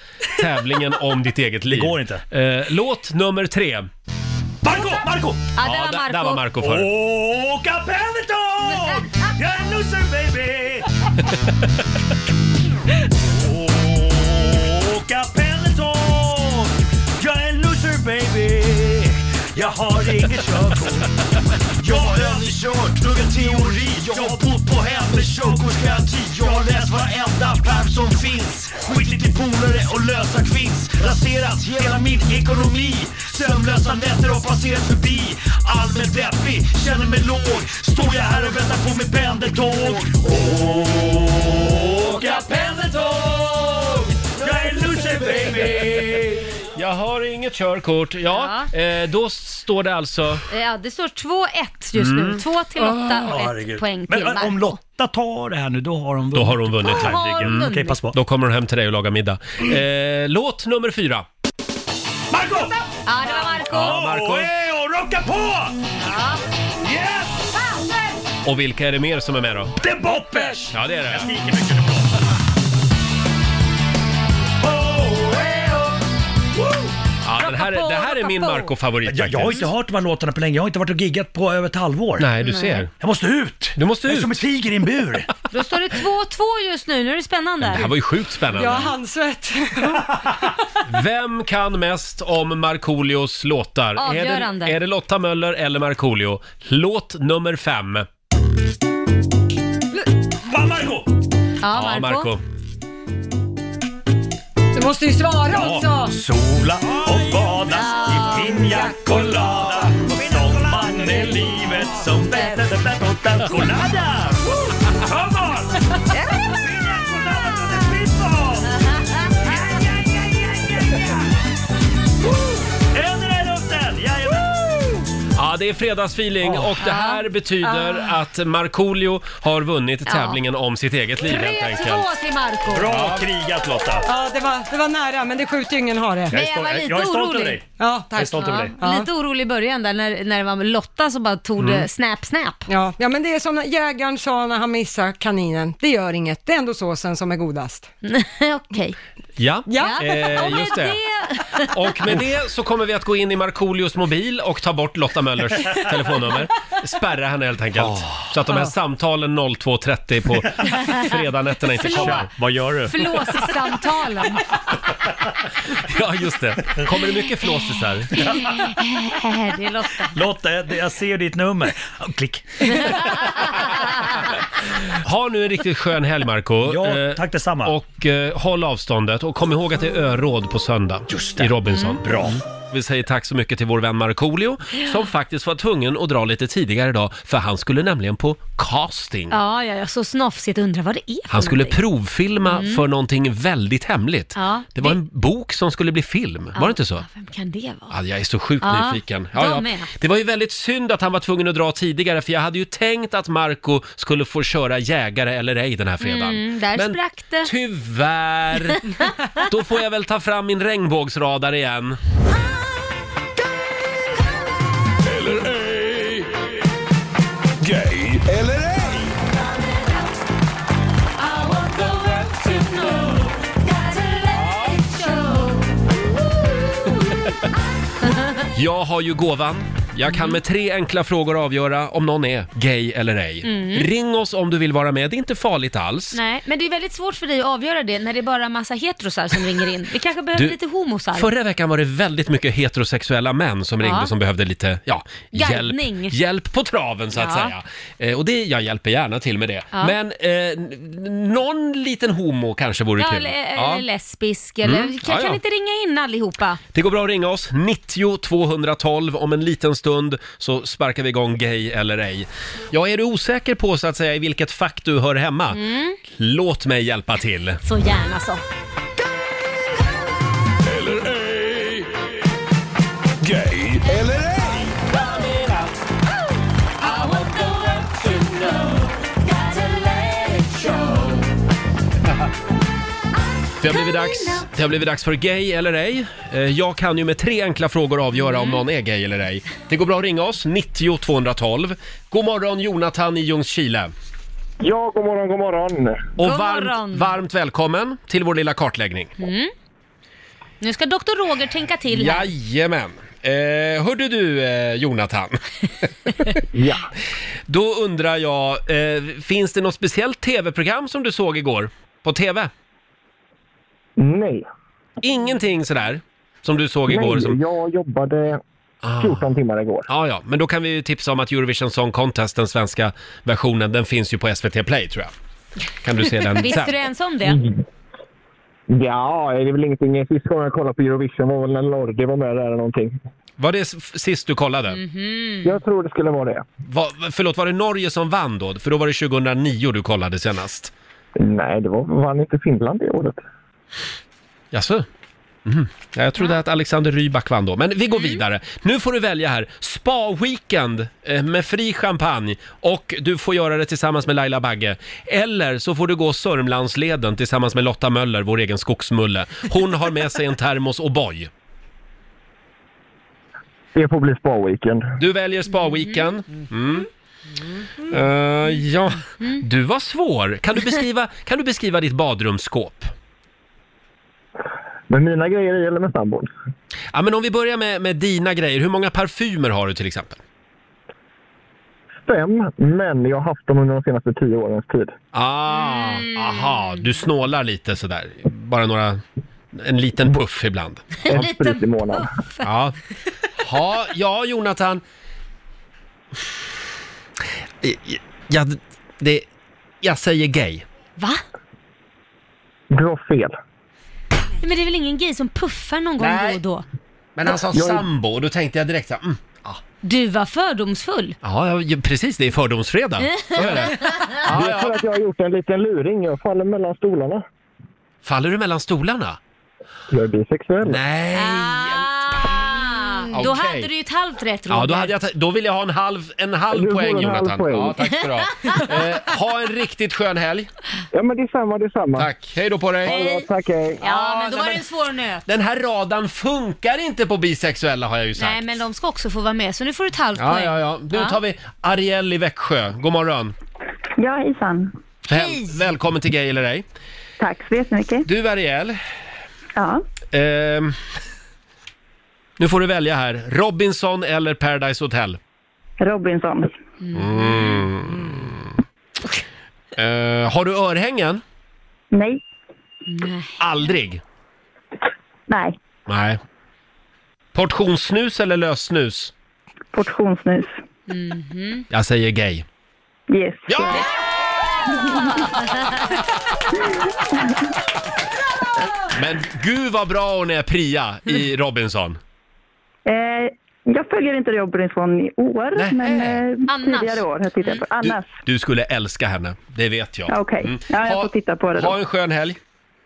Speaker 1: tävlingen om ditt eget liv.
Speaker 9: går inte.
Speaker 1: Eh, låt nummer tre.
Speaker 9: Marco, Marco!
Speaker 4: Ja, där var
Speaker 1: där,
Speaker 4: Marco.
Speaker 1: där var Marco före.
Speaker 9: Åh, Capelton! Jag är en loser baby! Åh, Capelton! Jag är en loser baby! Jag har inget körkort. Jag har övningskört, pluggat teori. Jag har bott på hem med körkortsgaranti. Jag har läst varenda pärm som finns. Skitit i polare och lösa kvinns. Raserat hela min ekonomi. Sömnlösa nätter har passerat förbi. Allmänt deppig, känner mig låg. Står jag här och väntar på mitt pendeltåg. Åka pendeltåg! Jag är loser baby!
Speaker 1: Jag har inget körkort. Ja, Eh, då står det alltså...
Speaker 4: Ja, det står 2-1 just
Speaker 1: Mm.
Speaker 4: nu. 2 till Lotta och 1 poäng till Marco.
Speaker 9: Lotta tar det här nu, då har hon vunnit.
Speaker 1: Då har hon vunnit.
Speaker 4: Då har hon vunnit. Okej, pass
Speaker 9: på.
Speaker 1: Då kommer hon hem till dig och lagar middag. Eh, låt nummer fyra.
Speaker 9: Marco!
Speaker 4: Ja, det var Marco.
Speaker 1: Ja, Marco.
Speaker 9: Åh, E rocka på! Yes!
Speaker 1: Och vilka är det mer som är med då?
Speaker 9: The Boppers!
Speaker 1: Ja, det är det.
Speaker 9: Skriker mycket nu. E
Speaker 1: Ja, den här, det här är min Marco-favorit
Speaker 9: Jag, jag har
Speaker 1: faktiskt.
Speaker 9: inte hört de här låtarna på länge. Jag har inte varit och giggat på över ett halvår.
Speaker 1: Nej, du ser.
Speaker 9: Jag måste ut!
Speaker 1: Du måste
Speaker 9: Jag är
Speaker 1: ut.
Speaker 9: som en tiger i en bur.
Speaker 4: Då står det 2-2 just nu. Nu är det spännande.
Speaker 1: Det här var ju sjukt
Speaker 2: Jag har
Speaker 1: spännande.
Speaker 2: handsvett.
Speaker 1: Vem kan mest om Markoolios låtar? Är
Speaker 4: Avgörande.
Speaker 1: det, är det Lotta Möller eller Markoolio? Låt nummer fem.
Speaker 9: Va, Marco!
Speaker 4: Ja,
Speaker 1: Ja,
Speaker 4: Marco.
Speaker 1: Marco.
Speaker 2: Du måste ju svara
Speaker 9: Ja.
Speaker 2: också.
Speaker 9: Sola och bada i piña colada. På sommaren är livet som bäst. Colada! Come on! Piña colada to the people! Ja, ja, ja, ja, ja, ja. Händerna i luften! Jajamän!
Speaker 1: Ja, det är fredagsfeeling och det här betyder att Markoolio har vunnit tävlingen om sitt eget liv helt
Speaker 4: 3-2
Speaker 1: enkelt.
Speaker 4: till Marco.
Speaker 9: Bra krigat Lotta!
Speaker 2: Ja, det var, det var nära, men det skjuter ju ingen har det.
Speaker 4: Men jag var lite
Speaker 9: jag är stolt över
Speaker 4: orolig.
Speaker 9: dig.
Speaker 2: Ja,
Speaker 9: Jag är
Speaker 2: tack.
Speaker 9: stolt över dig.
Speaker 4: Ja. Lite orolig i början där när, när det var Lotta som bara tog
Speaker 1: Mm.
Speaker 4: det snap, snap.
Speaker 2: Ja, ja, men det är som när jägaren sa när han missade kaninen. Det gör inget, det är ändå såsen som är godast.
Speaker 4: Okej.
Speaker 1: Ja,
Speaker 2: Ja.
Speaker 1: eh, just det. Och med det så kommer vi att gå in i Markoolios mobil och ta bort Lotta Möllers telefonnummer. Spärra henne helt enkelt. Så att de här
Speaker 4: Ja.
Speaker 1: samtalen 02.30 på fredagnätterna inte
Speaker 4: Förlåt.
Speaker 1: kommer. Vad gör du?
Speaker 4: Flåssamtalen.
Speaker 1: Ja, just det. Kommer det mycket flåsisar?
Speaker 4: det är Lotta.
Speaker 9: Lotta, jag, jag ser ditt nummer. Ja, Klick.
Speaker 1: Ha nu en riktigt skön helg, Marco.
Speaker 9: Ja,
Speaker 1: tack detsamma. Och eh, håll avståndet och kom ihåg att det är öråd på söndag i Robinson. Bra. Vi säger tack så mycket till vår vän Markoolio
Speaker 4: Ja.
Speaker 1: som faktiskt var tvungen att dra lite tidigare idag för han skulle nämligen på casting.
Speaker 4: Ja, ja, ja, så snofsigt undrar vad det är för
Speaker 1: Han skulle
Speaker 4: någonting.
Speaker 1: provfilma
Speaker 4: Mm.
Speaker 1: för någonting väldigt hemligt.
Speaker 4: Ja,
Speaker 1: Det var
Speaker 4: det-
Speaker 1: en bok som skulle bli film,
Speaker 4: Ja.
Speaker 1: var det inte så? Alltså.
Speaker 4: Vem kan det vara?
Speaker 1: Ja, jag är så sjukt
Speaker 4: Ja,
Speaker 1: nyfiken.
Speaker 4: jag med.
Speaker 1: Det var ju väldigt synd att han var tvungen att dra tidigare för jag hade ju tänkt att Marco skulle få köra jägare eller ej den här fredagen.
Speaker 4: Mm, där
Speaker 1: Men
Speaker 4: sprack det.
Speaker 1: tyvärr, då får jag väl ta fram min regnbågsradar igen.
Speaker 10: Eller ej. Gay eller ej.
Speaker 1: Jag har ju gåvan. Jag
Speaker 4: Mm.
Speaker 1: kan med tre enkla frågor avgöra om någon är gay eller ej.
Speaker 4: Mm.
Speaker 1: Ring oss om du vill vara med, det är inte farligt alls.
Speaker 4: Nej, men det är väldigt svårt för dig att avgöra det när det är bara massa heterosar som ringer in. Vi kanske behöver
Speaker 1: Du,
Speaker 4: lite homosar.
Speaker 1: Förra veckan var det väldigt mycket heterosexuella män som
Speaker 4: Ja.
Speaker 1: ringde som behövde lite, ja, hjälp,
Speaker 4: Guidning.
Speaker 1: hjälp på traven så att
Speaker 4: Ja.
Speaker 1: säga. Eh, och det, jag hjälper gärna till med det.
Speaker 4: Ja.
Speaker 1: Men eh, n- någon liten homo kanske vore
Speaker 4: ja,
Speaker 1: kul.
Speaker 4: eller,
Speaker 1: Ja.
Speaker 4: eller lesbisk, eller
Speaker 1: Mm,
Speaker 4: kan,
Speaker 1: ja, ja.
Speaker 4: kan inte ringa in allihopa?
Speaker 1: Det går bra att ringa oss, 90 212. Om en liten stund så sparkar vi igång gay eller ej. Ja, är du osäker på så att säga i vilket fack du hör hemma?
Speaker 4: Mm.
Speaker 1: Låt mig hjälpa till.
Speaker 4: Så gärna så.
Speaker 10: Eller ej. Gay eller ej.
Speaker 1: Det har blivit dags, det har blivit dags för gay eller ej. Eh, Jag kan ju med tre enkla frågor avgöra
Speaker 4: Mm.
Speaker 1: om någon är gay eller ej. Det går bra att ringa oss, 90 212. God morgon Jonathan i Ljungskile.
Speaker 11: Ja, god morgon, god morgon.
Speaker 1: Och
Speaker 4: God
Speaker 1: varmt,
Speaker 4: morgon.
Speaker 1: varmt välkommen till vår lilla kartläggning.
Speaker 4: Mm. Nu ska doktor Roger tänka till här.
Speaker 1: Jajamän. Eh, hörde du eh, Jonathan? ja. Då undrar jag, eh, finns det något speciellt tv-program som du såg igår? På tv?
Speaker 11: Nej.
Speaker 1: Ingenting sådär som du såg
Speaker 11: Nej,
Speaker 1: igår? Som... Ah.
Speaker 11: jag jobbade 14 timmar igår.
Speaker 1: Ja, ja, men då kan vi ju tipsa om att Eurovision Song Contest, den svenska versionen, den finns ju på SVT Play tror jag. Kan du se den
Speaker 4: Visste
Speaker 1: sen?
Speaker 4: du ens om det?
Speaker 11: Ja, det är väl ingenting. Sist gången jag kollade på Eurovision var väl när Lordi var med där eller någonting.
Speaker 1: Var det s- sist du kollade?
Speaker 4: Mm.
Speaker 1: Mm.
Speaker 11: Jag tror det skulle vara det.
Speaker 1: Va, förlåt, var det Norge som vann då? För då var det 2009 du kollade senast.
Speaker 11: Nej, det var, vann inte Finland det året.
Speaker 1: Jaså? Mhm. Ja, jag trodde att Alexander Rybak vann då, men vi går vidare. Nu får du välja här. Spa-weekend eh, med fri champagne och du får göra det tillsammans med Laila Bagge. Eller så får du gå Sörmlandsleden tillsammans med Lotta Möller, vår egen skogsmulle. Hon har med sig en termos och boy.
Speaker 11: Det får bli spa-weekend.
Speaker 1: Du väljer spa-weekend. Mm. Eh, ja, du var svår. Kan du beskriva, kan du beskriva ditt badrumsskåp?
Speaker 11: Men mina grejer är eller med sambon.
Speaker 1: Ja, men om vi börjar med, med dina grejer, hur många parfymer har du till exempel?
Speaker 11: Fem, men jag har haft dem under de senaste tio årens tid.
Speaker 1: Ah, aha, du snålar lite sådär. Bara några, en liten puff ibland.
Speaker 11: En sprit i månaden.
Speaker 1: Ja, ha, ja Jonathan. Jag, det, jag säger gay.
Speaker 4: Va?
Speaker 11: Du har fel.
Speaker 4: Nej, Men det är väl ingen gay som puffar någon gång
Speaker 1: Nej.
Speaker 4: då och då?
Speaker 1: Men han sa
Speaker 4: Jag är-
Speaker 1: sambo och då tänkte jag direkt så här, mm, ja.
Speaker 4: Du var fördomsfull.
Speaker 1: Ja, ja, ju- precis. Det är fördomsfredag. Så är det.
Speaker 11: det är för att jag har gjort en liten luring. Jag faller mellan stolarna.
Speaker 1: Faller du mellan stolarna?
Speaker 11: Jag är bisexuell.
Speaker 1: Nej!
Speaker 4: Ah, Då
Speaker 1: Okej.
Speaker 4: hade du ju ett halvt rätt Roger.
Speaker 1: Ja, då, hade jag ta- då vill jag ha en halv, en halv
Speaker 11: Du får
Speaker 1: poäng
Speaker 11: en halv
Speaker 1: Jonathan.
Speaker 11: poäng.
Speaker 1: Ja, tack ska du ha. Eh, ha en riktigt skön helg.
Speaker 11: Ja, men detsamma, detsamma.
Speaker 1: Tack. Hej då på dig.
Speaker 11: Ha det bra, tack, hej.
Speaker 4: Ja, men då
Speaker 1: nej,
Speaker 4: var det
Speaker 1: men-
Speaker 4: en svår nöt.
Speaker 1: Den här radan funkar inte på bisexuella har jag ju sagt.
Speaker 4: Nej, men de ska också få vara med, så nu får du ett halvt
Speaker 1: Ja,
Speaker 4: poäng.
Speaker 1: ja, ja. Nu tar vi Ariel i Växjö. God morgon.
Speaker 12: Ja, hejsan.
Speaker 1: Hej. Välkommen till Gay eller ej.
Speaker 12: Tack så jättemycket.
Speaker 1: Du Ariel.
Speaker 12: Ja.
Speaker 1: Ehm, nu får du välja här. Robinson eller Paradise Hotel?
Speaker 12: Robinson.
Speaker 1: Mm. Eh, har du örhängen?
Speaker 12: Nej.
Speaker 1: Aldrig?
Speaker 12: Nej.
Speaker 1: Nej. Portionssnus eller lössnus?
Speaker 12: Portionssnus.
Speaker 1: Jag säger gay.
Speaker 12: Yes.
Speaker 1: Ja! Men gud vad bra hon är Priya i
Speaker 12: Mm.
Speaker 1: Robinson.
Speaker 12: Eh, jag följer inte Robinson i år, men eh, tidigare år har jag tittat på.
Speaker 1: Du,
Speaker 12: Annars.
Speaker 1: du skulle älska henne, det vet jag.
Speaker 12: Ja, Okej,
Speaker 1: Mm.
Speaker 12: ja, jag
Speaker 1: Ha-
Speaker 12: får titta på det då.
Speaker 1: Ha en skön helg.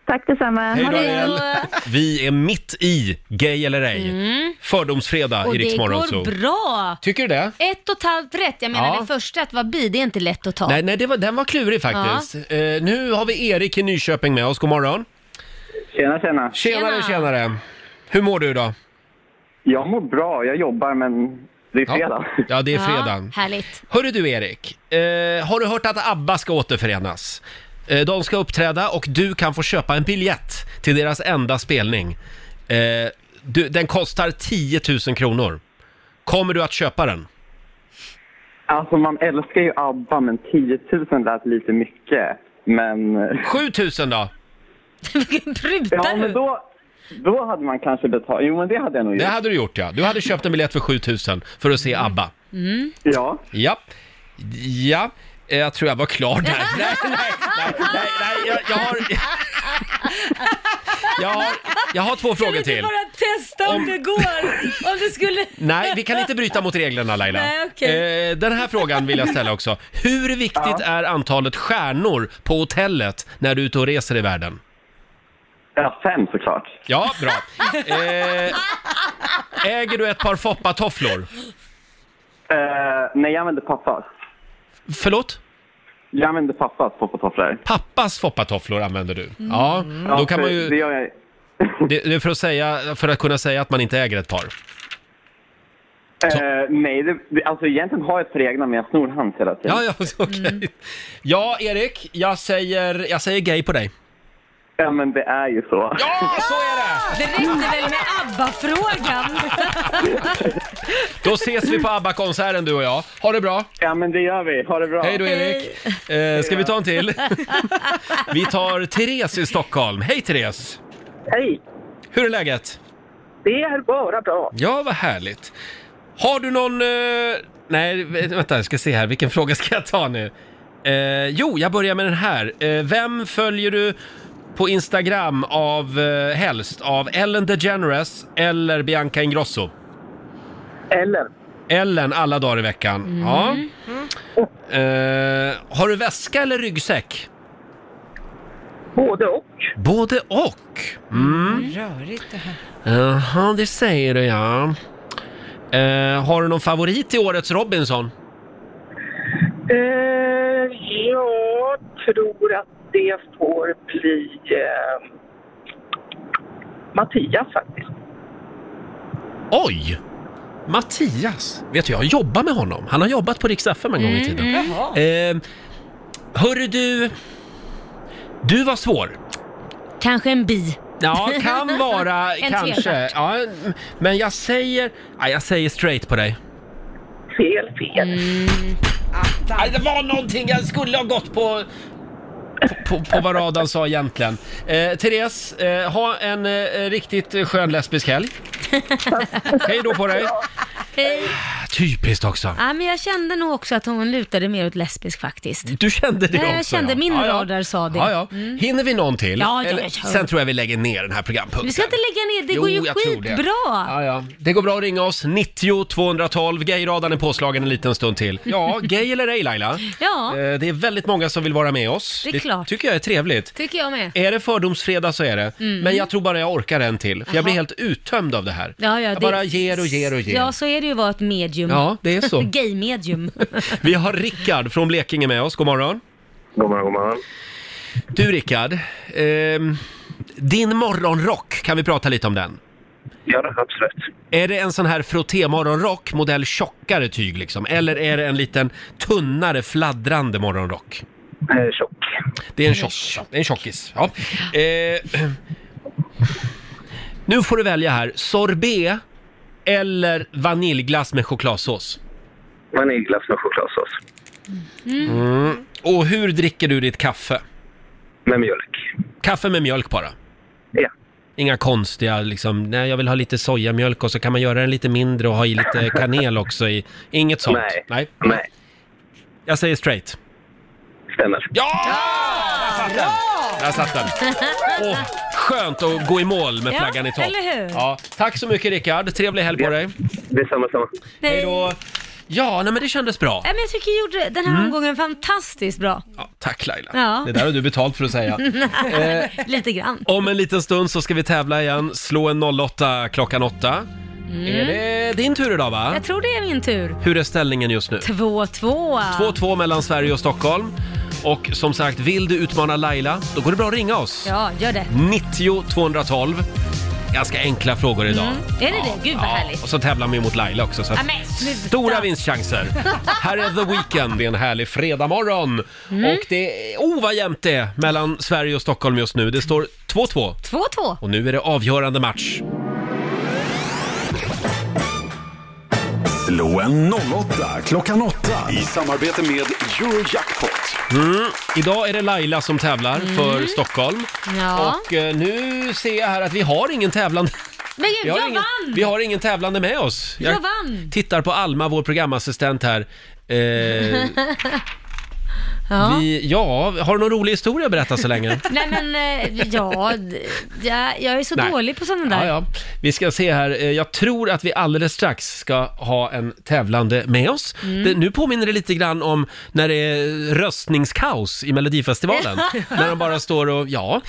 Speaker 12: Tack detsamma.
Speaker 1: Hej då, Ariel. Vi är mitt i Gay eller ej.
Speaker 4: Mm.
Speaker 1: Fördomsfredag
Speaker 4: Och
Speaker 1: i
Speaker 4: det
Speaker 1: Rix
Speaker 4: går
Speaker 1: Morgon Zoo.
Speaker 4: bra!
Speaker 1: Tycker du det?
Speaker 4: Ett och ett halvt rätt. Jag menar
Speaker 1: Ja.
Speaker 4: det första, att vara bi, det är inte lätt att ta.
Speaker 1: Nej, nej det var, den var klurig faktiskt. Eh, nu har vi Erik i Nyköping med oss. God morgon.
Speaker 13: Tjena, tjena.
Speaker 1: Tjenare, tjenare. Hur mår du idag?
Speaker 13: Jag mår bra, jag jobbar men det är fredag.
Speaker 1: Ja, ja det är fredag.
Speaker 4: härligt.
Speaker 1: Hörru du Erik, eh, har du hört att ABBA ska återförenas? Eh, de ska uppträda och du kan få köpa en biljett till deras enda spelning. Eh, du, den kostar 10 000 kronor. Kommer du att köpa den?
Speaker 13: Alltså man älskar ju ABBA men 10 000 lät lite mycket. Men...
Speaker 1: 7 000 då?
Speaker 4: Prutar
Speaker 13: ja, men då, då hade man kanske betalat. Jo men det hade jag nog
Speaker 1: Det
Speaker 13: gjort.
Speaker 1: hade du gjort ja. Du hade köpt en biljett för 7 000 för att se ABBA.
Speaker 13: Mm. Ja.
Speaker 1: Ja. Ja, eh, jag tror jag var klar där. Nej, nej, nej, nej, nej jag, jag, har, jag har... Jag har två frågor till.
Speaker 4: Bara testa om det går. Om det skulle...
Speaker 1: Nej, vi kan inte bryta mot reglerna Laila.
Speaker 4: Nej, okej.
Speaker 1: eh, den här frågan vill jag ställa också. Hur viktigt är antalet stjärnor på hotellet när du är ute och reser i världen?
Speaker 13: Ja, fem såklart.
Speaker 1: Ja, bra. Eh, äger du ett par foppatofflor?
Speaker 13: Eh, nej, jag använde pappas.
Speaker 1: Förlåt?
Speaker 13: Jag använde pappas foppatofflor.
Speaker 1: Pappas foppatofflor använder du? Ja,
Speaker 13: Mm. Ja,
Speaker 1: då
Speaker 13: för
Speaker 1: kan man
Speaker 13: Det
Speaker 1: ju...
Speaker 13: gör jag.
Speaker 1: Det, det är för att, säga, för att kunna säga att man inte äger ett par.
Speaker 13: Eh, nej, det, det, alltså egentligen har jag ett par egna men jag snor hans hela tiden.
Speaker 1: Ja, ja, okej. Ja, Erik, jag säger, jag säger gay på dig.
Speaker 13: Ja, men det är ju så.
Speaker 1: Ja, så är det!
Speaker 4: Det räckte väl med ABBA-frågan?
Speaker 1: Då ses vi på ABBA-konserten du och jag. Ha det bra!
Speaker 13: Ja, men det gör vi. Ha det bra.
Speaker 1: Hej då Erik! Eh, ska vi ta en till? Vi tar Therese i Stockholm. Hej Therese!
Speaker 14: Hej!
Speaker 1: Hur är läget?
Speaker 14: Det är bara bra.
Speaker 1: Ja, vad härligt. Har du någon... Eh, nej, vä- vänta, jag ska se här. Vilken fråga ska jag ta nu? Eh, jo, jag börjar med den här. Eh, vem följer du på Instagram av eh, helst? Av Ellen DeGeneres eller Bianca Ingrosso?
Speaker 14: Ellen.
Speaker 1: Ellen alla dagar i veckan. Ja. Eh, har du väska eller ryggsäck?
Speaker 14: Både och.
Speaker 1: Både och? Mm.
Speaker 2: Rörigt det här.
Speaker 1: Jaha, det säger du ja. Eh, har du någon favorit i årets Robinson?
Speaker 14: Eh, jag tror att det får bli eh, Mattias faktiskt.
Speaker 1: Oj! Mattias! Vet du, jag jobbar med honom. Han har jobbat på Rix FM en gång i
Speaker 14: Mm,
Speaker 1: tiden.
Speaker 14: mm. Jaha.
Speaker 1: Eh, hörru du... Du var svår.
Speaker 4: Kanske en bi.
Speaker 1: Ja, kan vara
Speaker 4: En
Speaker 1: kanske.
Speaker 4: trestjärna.
Speaker 1: Ja, men jag säger... Ja, jag säger straight på dig.
Speaker 14: Fel, fel.
Speaker 15: Mm.
Speaker 1: Nej, det var någonting jag skulle ha gått på... På, på vad radan sa egentligen. Eh, Therese, eh, ha en eh, riktigt skön lesbisk helg. Hej då på dig!
Speaker 4: Hej.
Speaker 1: Typiskt också.
Speaker 4: Ja, men jag kände nog också att hon lutade mer åt lesbisk faktiskt.
Speaker 1: Mm. Du kände det
Speaker 4: Ja,
Speaker 1: också?
Speaker 4: jag kände
Speaker 1: ja.
Speaker 4: min
Speaker 1: Ja, ja.
Speaker 4: radar sa det.
Speaker 1: Ja, ja.
Speaker 4: Mm.
Speaker 1: Hinner vi någon till?
Speaker 4: Ja, ja,
Speaker 1: Eller-
Speaker 4: ja.
Speaker 1: Sen tror jag vi lägger ner den här programpunkten.
Speaker 4: Vi ska inte lägga ner, det
Speaker 1: Jo,
Speaker 4: går ju
Speaker 1: jag tror det.
Speaker 4: skitbra.
Speaker 1: Ja, ja. Det går bra att ringa oss, 90 212. Gayradarn är påslagen en liten stund till. Ja, gay eller ej Laila?
Speaker 4: Ja.
Speaker 1: Eh, Det är väldigt många som vill vara med oss.
Speaker 4: Det är klart.
Speaker 1: tycker jag är trevligt.
Speaker 4: Tycker jag med.
Speaker 1: Är det fördomsfredag så är det.
Speaker 4: Mm.
Speaker 1: Men jag tror bara jag orkar en till. För jag blir
Speaker 4: Jaha.
Speaker 1: helt uttömd av det här.
Speaker 4: Ja, ja,
Speaker 1: jag
Speaker 4: det-
Speaker 1: bara ger och ger och ger.
Speaker 4: Ja, så är det ju att vara ett medium.
Speaker 1: Ja, det är så.
Speaker 4: Gay-medium.
Speaker 1: Vi har Rickard från Blekinge med oss. God morgon.
Speaker 15: God morgon, god morgon.
Speaker 1: Du Rickard, ehm, din morgonrock, kan vi prata lite om den?
Speaker 15: Ja, det, absolut.
Speaker 1: Är det en sån här frottémorgonrock, modell tjockare tyg liksom? Eller är det en liten tunnare fladdrande morgonrock?
Speaker 15: Eh, tjock.
Speaker 1: Det är en tjock. Det är en tjockis. Ja. Eh, nu får du välja här, sorbet eller vaniljglass med chokladsås?
Speaker 15: Vaniljglass med chokladsås.
Speaker 1: Mm. Och hur dricker du ditt kaffe?
Speaker 15: Med mjölk.
Speaker 1: Kaffe med mjölk bara?
Speaker 15: Ja.
Speaker 1: Inga konstiga liksom, nej jag vill ha lite sojamjölk och så kan man göra den lite mindre och ha i lite kanel också i. Inget sånt?
Speaker 15: Nej.
Speaker 1: Nej. Jag säger straight.
Speaker 15: Stämmer.
Speaker 1: Ja! Där satt den. Åh, skönt att gå i mål med
Speaker 4: Ja,
Speaker 1: flaggan i topp.
Speaker 4: eller hur?
Speaker 1: Ja, tack så mycket Rickard, trevlig helg på dig.
Speaker 15: Detsamma, samma.
Speaker 1: Hej då. Ja, nej men det kändes bra.
Speaker 4: Nej, men jag tycker jag gjorde den här
Speaker 1: Mm.
Speaker 4: omgången fantastiskt bra.
Speaker 1: Tack Laila.
Speaker 4: Ja.
Speaker 1: Det där har du betalt för att säga. Eh,
Speaker 4: Lite grann.
Speaker 1: Om en liten stund så ska vi tävla igen. Slå en 08 klockan 8.
Speaker 4: Mm.
Speaker 1: Är det din tur idag va?
Speaker 4: Jag tror det är min tur.
Speaker 1: Hur är ställningen just nu?
Speaker 4: 2-2.
Speaker 1: 2-2 mellan Sverige och Stockholm. Och som sagt, vill du utmana Laila, då går det bra att ringa oss.
Speaker 4: Ja, gör det.
Speaker 1: 90 212. Ganska enkla frågor idag.
Speaker 4: Är det det? Gud Mm, vad härligt.
Speaker 1: Och så tävlar vi mot Laila också. Så att
Speaker 4: Ja, men sluta.
Speaker 1: stora vinstchanser. Här är The Weeknd. Det är en härlig fredagmorgon.
Speaker 4: Mm.
Speaker 1: Och det är, oh vad jämnt det är mellan Sverige och Stockholm just nu. Det står 2-2.
Speaker 4: 2-2.
Speaker 1: Och nu är det avgörande match.
Speaker 10: Slå en 08 klockan 8 i samarbete med Eurojackpot.
Speaker 1: Mm. Idag är det Laila som tävlar för Stockholm.
Speaker 4: Mm. Ja.
Speaker 1: Och eh, nu ser jag här att vi har ingen tävlande.
Speaker 4: Men gud,
Speaker 1: Vi har,
Speaker 4: jag
Speaker 1: ingen,
Speaker 4: vann!
Speaker 1: vi har ingen tävlande med oss.
Speaker 4: Jag vann.
Speaker 1: tittar på Alma, vår programassistent här. Eh,
Speaker 4: ja.
Speaker 1: Vi, ja, har du någon rolig historia att berätta så länge?
Speaker 4: Nej men, eh, ja, d- ja, jag är så
Speaker 1: Nej.
Speaker 4: dålig på sådana
Speaker 1: Ja,
Speaker 4: där.
Speaker 1: ja. Vi ska se här, Eh, jag tror att vi alldeles strax ska ha en tävlande med oss.
Speaker 4: Mm.
Speaker 1: Det, nu påminner det lite grann om när det är röstningskaos i Melodifestivalen. när de bara står och, ja,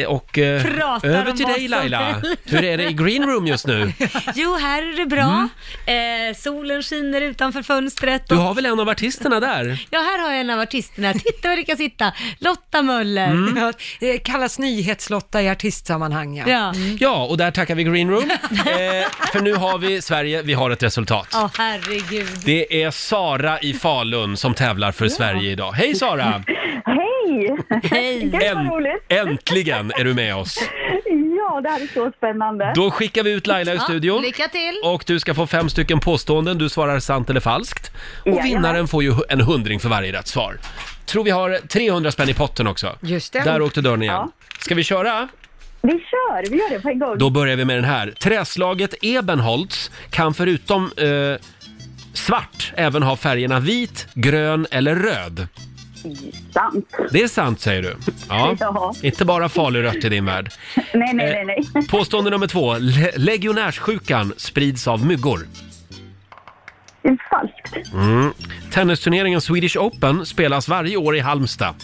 Speaker 1: eh, och eh,
Speaker 4: Pratar
Speaker 1: över
Speaker 4: om
Speaker 1: till
Speaker 4: vad
Speaker 1: dig
Speaker 4: som
Speaker 1: Laila.
Speaker 4: helst.
Speaker 1: Hur är det i green room just nu?
Speaker 4: Jo, här är det bra. Eh, solen skiner utanför fönstret.
Speaker 1: Mm. Du
Speaker 4: Och...
Speaker 1: har väl en av artisterna där?
Speaker 4: Ja, här har jag en av artisterna. Titta var det kan sitta. Lotta Möller.
Speaker 1: Mm.
Speaker 2: Det kallas nyhetslotta i artistsammanhang. Ja.
Speaker 4: Ja.
Speaker 1: Ja, och där tackar vi green room. Eh, för nu har vi Sverige, vi har ett resultat.
Speaker 4: Ja, herregud.
Speaker 1: Det är Sara i Falun som tävlar för Sverige idag. Hej Sara!
Speaker 6: Hej!
Speaker 4: Hej!
Speaker 6: Gud vad roligt!
Speaker 1: Äntligen är du med oss!
Speaker 6: Ja, det här är så spännande.
Speaker 1: Då skickar vi ut Laila i studion.
Speaker 4: lycka till!
Speaker 1: Och du ska få fem stycken påståenden, du svarar sant eller falskt. Och
Speaker 6: Jajamän.
Speaker 1: vinnaren får ju en hundring för varje rätt svar. Tror vi har 300 spänn i potten också.
Speaker 2: Just det.
Speaker 1: Där åkte dörren igen. Ska vi köra?
Speaker 6: Vi kör, vi gör det på en gång.
Speaker 1: Då börjar vi med den här. Träslaget Ebenholts kan förutom eh, svart även ha färgerna vit, grön eller röd.
Speaker 6: Sant.
Speaker 1: Det är sant säger du. Ja.
Speaker 6: Ja.
Speaker 1: Inte bara falurött i din värld.
Speaker 6: Nej,
Speaker 1: Eh.
Speaker 6: nej, nej, nej.
Speaker 1: Påstående nummer två. Le- legionärssjukan sprids av myggor.
Speaker 6: Falskt.
Speaker 1: Mm. Tennisturneringen Swedish Open spelas varje år i Halmstad.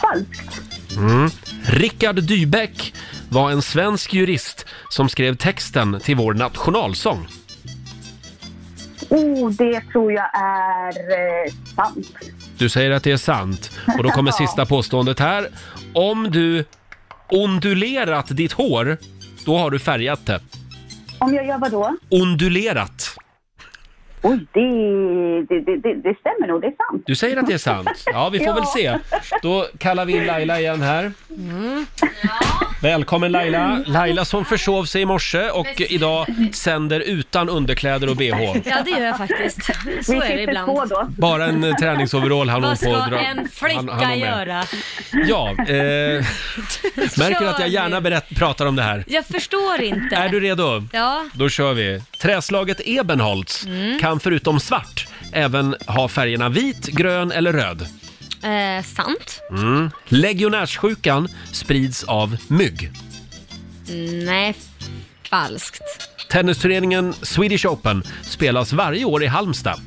Speaker 6: Falskt.
Speaker 1: Mm. Rickard Dybeck var en svensk jurist som skrev texten till vår nationalsång.
Speaker 6: Oh, det tror jag är eh, sant.
Speaker 1: Du säger att det är sant. Och då kommer
Speaker 6: Ja.
Speaker 1: sista påståendet här. Om du ondulerat ditt hår, då har du färgat det.
Speaker 6: Om jag gör vad då?
Speaker 1: Ondulerat.
Speaker 6: Oj, det, det, det, det, det stämmer nog, det är sant.
Speaker 1: Du säger att det är sant. Ja, vi får
Speaker 6: Ja.
Speaker 1: väl se. Då kallar vi in Laila igen här.
Speaker 4: Mm.
Speaker 1: Välkommen Laila! Laila som försov sig i morse och idag sänder utan underkläder och bh.
Speaker 4: Ja, det gör jag faktiskt. Så
Speaker 6: Vi
Speaker 4: är det
Speaker 6: sitter
Speaker 4: ibland.
Speaker 6: två då.
Speaker 1: Bara en eh, träningsoverall hann hon
Speaker 4: Vad
Speaker 1: på
Speaker 4: ska
Speaker 1: att dra.
Speaker 4: en flicka
Speaker 1: hann- hann hon med.
Speaker 4: göra?
Speaker 1: Ja, eh, märker att jag gärna berätt, pratar om det här.
Speaker 4: Jag förstår inte.
Speaker 1: Är du redo?
Speaker 4: Ja.
Speaker 1: Då kör vi. Träslaget Ebenholts
Speaker 4: Mm.
Speaker 1: kan förutom svart även ha färgerna vit, grön eller röd.
Speaker 4: Eh, sant?
Speaker 1: Mm. Legionärssjukan sprids av mygg.
Speaker 4: Nej, falskt.
Speaker 1: Tennisturneringen Swedish Open spelas varje år i Halmstad.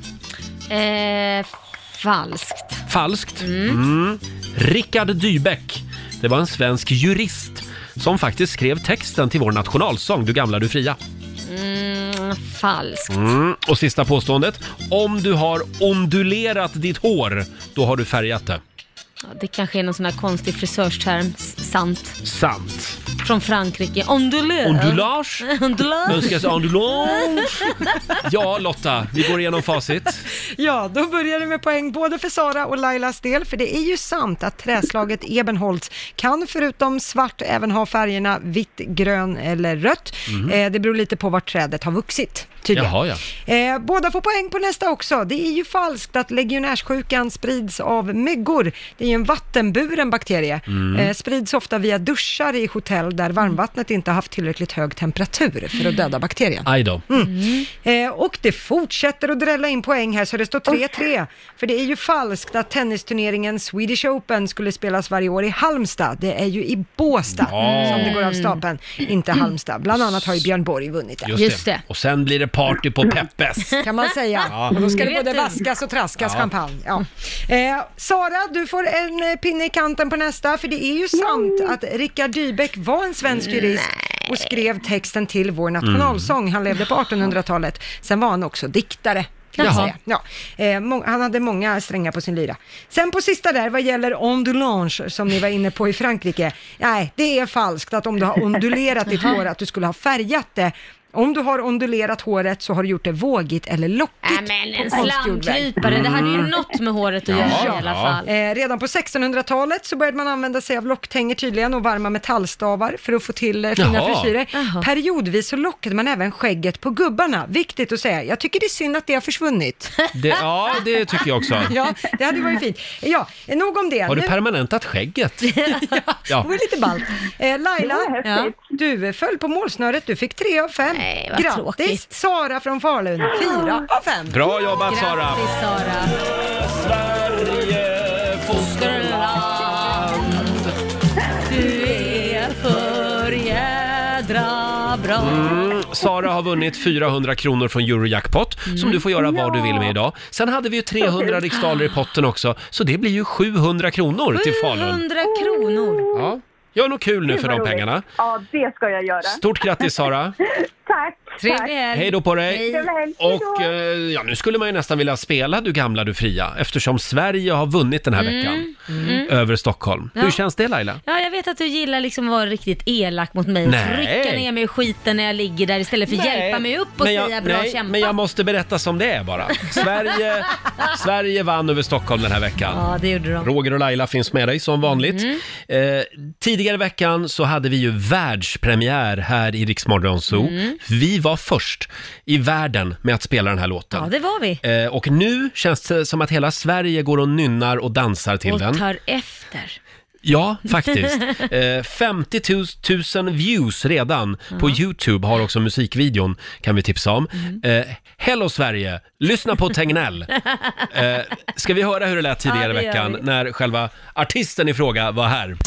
Speaker 4: Eh, falskt.
Speaker 1: Falskt. Mm. Rickard Dybeck. Det var en svensk jurist som faktiskt skrev texten till vår nationalsång Du gamla, du fria.
Speaker 4: Mm, falskt.
Speaker 1: Mm. Och sista påståendet. Om du har ondulerat ditt hår, då har du färgat det.
Speaker 4: Ja, Det kanske är någon sån här konstig frisörsterm. S- Sant.
Speaker 1: Sant.
Speaker 4: Från Frankrike. Ondulör.
Speaker 1: Ondulage?
Speaker 4: Ondulage.
Speaker 1: Önskas ondulage? Ja, Lotta, vi går igenom facit.
Speaker 2: Ja, då börjar det med poäng både för Sara och Lailas del, för det är ju sant att träslaget Ebenholts kan förutom svart även ha färgerna vitt, grön eller rött.
Speaker 1: Mm.
Speaker 2: Eh, det beror lite på vart trädet har vuxit. tydligen.
Speaker 1: Jaha, ja.
Speaker 2: Eh, båda får poäng på nästa också. Det är ju falskt att legionärssjukan sprids av myggor. Det är ju en vattenburen bakterie.
Speaker 16: Mm.
Speaker 2: Eh, sprids ofta via duschar i hotell där varmvattnet inte har haft tillräckligt hög temperatur för att döda bakterien.
Speaker 1: Aj då.
Speaker 2: Mm. Eh, och det fortsätter att drälla in poäng här så det står 3-3. För det är ju falskt att tennisturneringen Swedish Open skulle spelas varje år i Halmstad. Det är ju i Båstad
Speaker 1: Ja.
Speaker 2: som det går av stapeln, inte Halmstad. Bland annat har ju Björn Borg vunnit där.
Speaker 1: Just, det. Och sen blir det party på Peppes.
Speaker 2: Kan man säga.
Speaker 1: Ja.
Speaker 2: Och då ska det
Speaker 1: Mm.
Speaker 2: både vaskas och traskas
Speaker 1: Ja.
Speaker 2: champagne. Ja. Eh, Sara, du får en eh, pinne i kanten på nästa, för det är ju sant att Rickard Dybeck var en svensk jurist och skrev texten till vår nationalsång. Han levde på 1800-talet. Sen var han också diktare. Kan man
Speaker 16: Jaha.
Speaker 2: säga. Ja. Eh, må- han hade många strängar på sin lyra. Sen på sista där, vad gäller ondulange som ni var inne på i Frankrike. Nej, det är falskt att om du har ondulerat ditt
Speaker 16: Jaha.
Speaker 2: hår att du skulle ha färgat det. Om du har ondulerat håret så har du gjort det vågigt eller lockigt.
Speaker 4: Nej, men en
Speaker 2: på konstgjord väg.
Speaker 4: slamkrypare, det hade
Speaker 1: Mm.
Speaker 4: ju något med håret att
Speaker 2: Ja,
Speaker 4: göra i
Speaker 2: ja.
Speaker 4: alla fall.
Speaker 2: Eh, redan på 1600-talet så började man använda sig av locktänger tydligen och varma metallstavar för att få till eh, fina
Speaker 16: Jaha.
Speaker 2: frisyrer. Periodvis så lockade man även skägget på gubbarna. Viktigt att säga. Jag tycker det är synd att det har försvunnit.
Speaker 1: Det, ja, det tycker jag också.
Speaker 2: ja, det hade varit fint. Ja, eh, nog om det.
Speaker 1: Har du
Speaker 2: Nu-
Speaker 1: permanentat skägget?
Speaker 2: Det
Speaker 1: Ja.
Speaker 2: var lite ballt. Eh, Laila,
Speaker 1: Det var häftigt.
Speaker 2: du eh, föll på målsnöret. Du fick tre av fem.
Speaker 4: vad
Speaker 2: Grattis!
Speaker 4: tråkigt.
Speaker 2: Sara från Falun, fyra av fem.
Speaker 1: Bra jobbat Sara!
Speaker 4: Sara.
Speaker 1: Sverige,
Speaker 4: fosterland. Du är för jädra bra.
Speaker 1: Mm, Sara har vunnit 400 kronor från Eurojackpot som du får göra vad du vill med idag. Sen hade vi ju 300 riksdaler i potten också, så det blir ju 700 kronor till Falun.
Speaker 4: 700 kronor.
Speaker 1: Ja. Gör något kul nu
Speaker 4: Gud,
Speaker 1: för
Speaker 4: vad
Speaker 1: de
Speaker 4: roligt.
Speaker 1: pengarna.
Speaker 6: Ja, det ska jag göra.
Speaker 1: Stort grattis Sara!
Speaker 6: Tack!
Speaker 4: Trevlig helg.
Speaker 1: Hej då på dig!
Speaker 6: Trevlig helg. Hej då.
Speaker 1: Och eh, ja, nu skulle man ju nästan vilja spela Du gamla, du fria eftersom Sverige har vunnit den här
Speaker 4: Mm,
Speaker 1: veckan
Speaker 4: mm.
Speaker 1: över Stockholm.
Speaker 4: Ja.
Speaker 1: Hur känns det Laila?
Speaker 4: Ja, jag vet att du gillar liksom att vara riktigt elak mot mig och
Speaker 1: Nej.
Speaker 4: trycka ner mig i skiten när jag ligger där istället för att
Speaker 1: Nej.
Speaker 4: hjälpa mig upp och
Speaker 1: Men jag-
Speaker 4: säga bra
Speaker 1: nej,
Speaker 4: kämpat.
Speaker 1: Men jag måste berätta som det är bara. Sverige, Sverige vann över Stockholm den här veckan.
Speaker 4: Ja, Mm. det gjorde de.
Speaker 1: Roger och Laila finns med dig som vanligt. Eh, tidigare i veckan så hade vi ju världspremiär här i Rix Morgon Zoo.
Speaker 4: Mm.
Speaker 1: Vi var först i världen med att spela den här låten.
Speaker 4: Ja, det var vi.
Speaker 1: Eh, och nu känns det som att hela Sverige går och nynnar och dansar till
Speaker 4: och
Speaker 1: den.
Speaker 4: tar efter.
Speaker 1: Ja, faktiskt. Eh, 50 000 views redan på
Speaker 4: Ja. Mm.
Speaker 1: YouTube har också musikvideon, kan vi tipsa om. Eh, Hello Sverige, lyssna på Tegnell. Eh, ska vi höra hur det lät tidigare
Speaker 4: Ja, det
Speaker 1: i
Speaker 4: gör
Speaker 1: veckan
Speaker 4: vi.
Speaker 1: när själva artisten i fråga var här?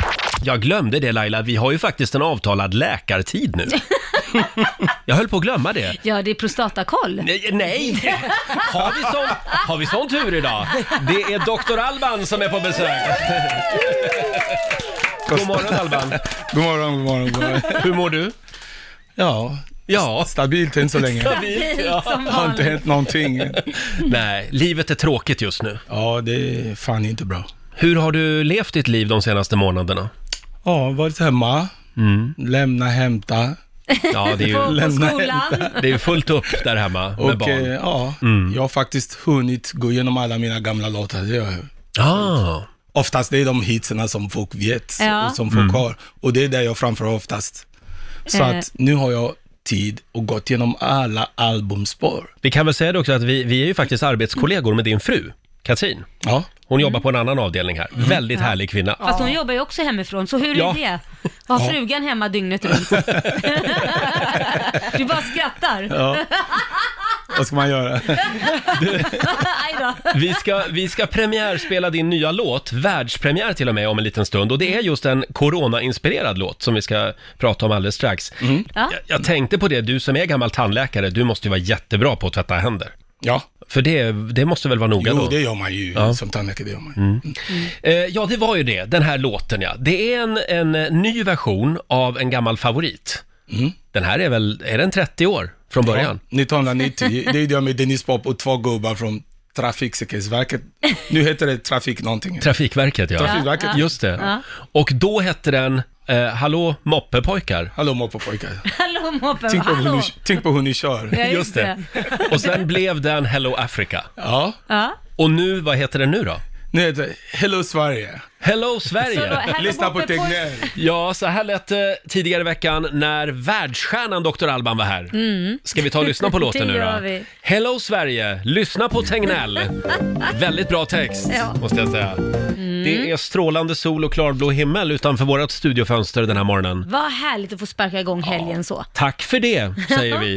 Speaker 1: Jag glömde det Laila, vi har ju faktiskt en avtalad läkartid nu. Jag höll på att glömma det.
Speaker 4: Ja, det är prostatakoll.
Speaker 1: Nej, nej. Har vi, sån, har vi sån tur idag? Det är doktor Alban som är på besök. God morgon Alban.
Speaker 17: God morgon, god morgon, god morgon.
Speaker 1: Hur mår du?
Speaker 17: Ja,
Speaker 1: ja.
Speaker 17: stabilt än så länge.
Speaker 1: Stabilt, ja. Som
Speaker 17: Det har inte
Speaker 1: vanligt.
Speaker 17: hänt någonting.
Speaker 1: Nej, livet är tråkigt just nu.
Speaker 17: Ja, det är fan inte bra.
Speaker 1: Hur har du levt ditt liv de senaste månaderna?
Speaker 17: Ja, varit hemma,
Speaker 1: Mm.
Speaker 17: lämna, hämta.
Speaker 1: Ja, det är ju,
Speaker 17: Lämna, hämta.
Speaker 1: det är ju fullt upp där hemma med
Speaker 17: Och eh,
Speaker 1: barn.
Speaker 17: ja, jag har faktiskt hunnit gå igenom alla mina gamla låtar. Det gör jag.
Speaker 1: Ah.
Speaker 17: Oftast det är de hitsen som folk vet,
Speaker 4: Ja.
Speaker 17: som folk har. Och det är det jag framför oftast. Så
Speaker 4: Eh.
Speaker 17: att nu har jag tid och gått igenom alla albumspår.
Speaker 1: Vi kan väl säga det också att vi, vi är ju faktiskt arbetskollegor med din fru, Katrin.
Speaker 17: Ja.
Speaker 1: Hon jobbar på en annan avdelning här. Väldigt
Speaker 4: Ja.
Speaker 1: härlig kvinna.
Speaker 4: Fast hon jobbar ju också hemifrån, så hur
Speaker 1: Ja.
Speaker 4: är det? Har
Speaker 1: Ja.
Speaker 4: frugan hemma dygnet runt? du bara skrattar.
Speaker 17: Ja. Vad ska man göra?
Speaker 4: Aj då.
Speaker 1: Vi ska, vi ska premiärspela din nya låt, världspremiär till och med om en liten stund. Och det är just en corona-inspirerad låt som vi ska prata om alldeles strax.
Speaker 17: Mm.
Speaker 4: Ja.
Speaker 1: Jag, jag tänkte på det, du som är gammal tandläkare, du måste ju vara jättebra på att tvätta händer.
Speaker 17: Ja.
Speaker 1: För det, det måste väl vara noga
Speaker 17: Jo,
Speaker 1: då?
Speaker 17: det gör man ju
Speaker 1: Ja.
Speaker 17: som tandläkare. Det gör man.
Speaker 1: Mm. Eh, ja, det var ju det, den här låten ja. Det är en, en eh, ny version av en gammal favorit. Den här är väl, är den 30 år från början?
Speaker 17: Mm. Ja, 1990, det är det med Dennis Pop och två gubbar från Trafiksäkerhetsverket. Nu heter det Trafik någonting.
Speaker 1: Trafikverket ja.
Speaker 17: Trafikverket. Ja, ja.
Speaker 1: Just det.
Speaker 17: Ja.
Speaker 1: Och då hette den eh, Hallå moppepojkar.
Speaker 17: Hallå moppepojkar.
Speaker 4: Hallå moppen,
Speaker 17: Tänk på, hur
Speaker 4: hallå.
Speaker 17: ni, tänk på hur ni kör.
Speaker 4: Ja, just Just det.
Speaker 1: Och sen blev den Hello Africa.
Speaker 17: Ja.
Speaker 4: Ja.
Speaker 1: Och nu, vad heter den nu då?
Speaker 17: Nu heter det Hello Sverige.
Speaker 1: Hello
Speaker 4: Så då,
Speaker 1: Sverige!
Speaker 4: här Lyssna på Boppe på- Tegnell.
Speaker 1: Ja, så här lät det tidigare i veckan när världsstjärnan Dr. Alban var här.
Speaker 4: Mm.
Speaker 1: Ska vi ta och lyssna på låten nu
Speaker 4: Det gör
Speaker 1: då?
Speaker 4: vi.
Speaker 1: Hello Sverige, lyssna på Tegnell. Väldigt bra text,
Speaker 4: Ja. Mm.
Speaker 1: måste jag säga. Det är strålande sol och klarblå himmel utanför vårt studiofönster den här morgonen.
Speaker 4: Vad härligt att få sparka igång helgen så.
Speaker 1: Tack för det, säger vi.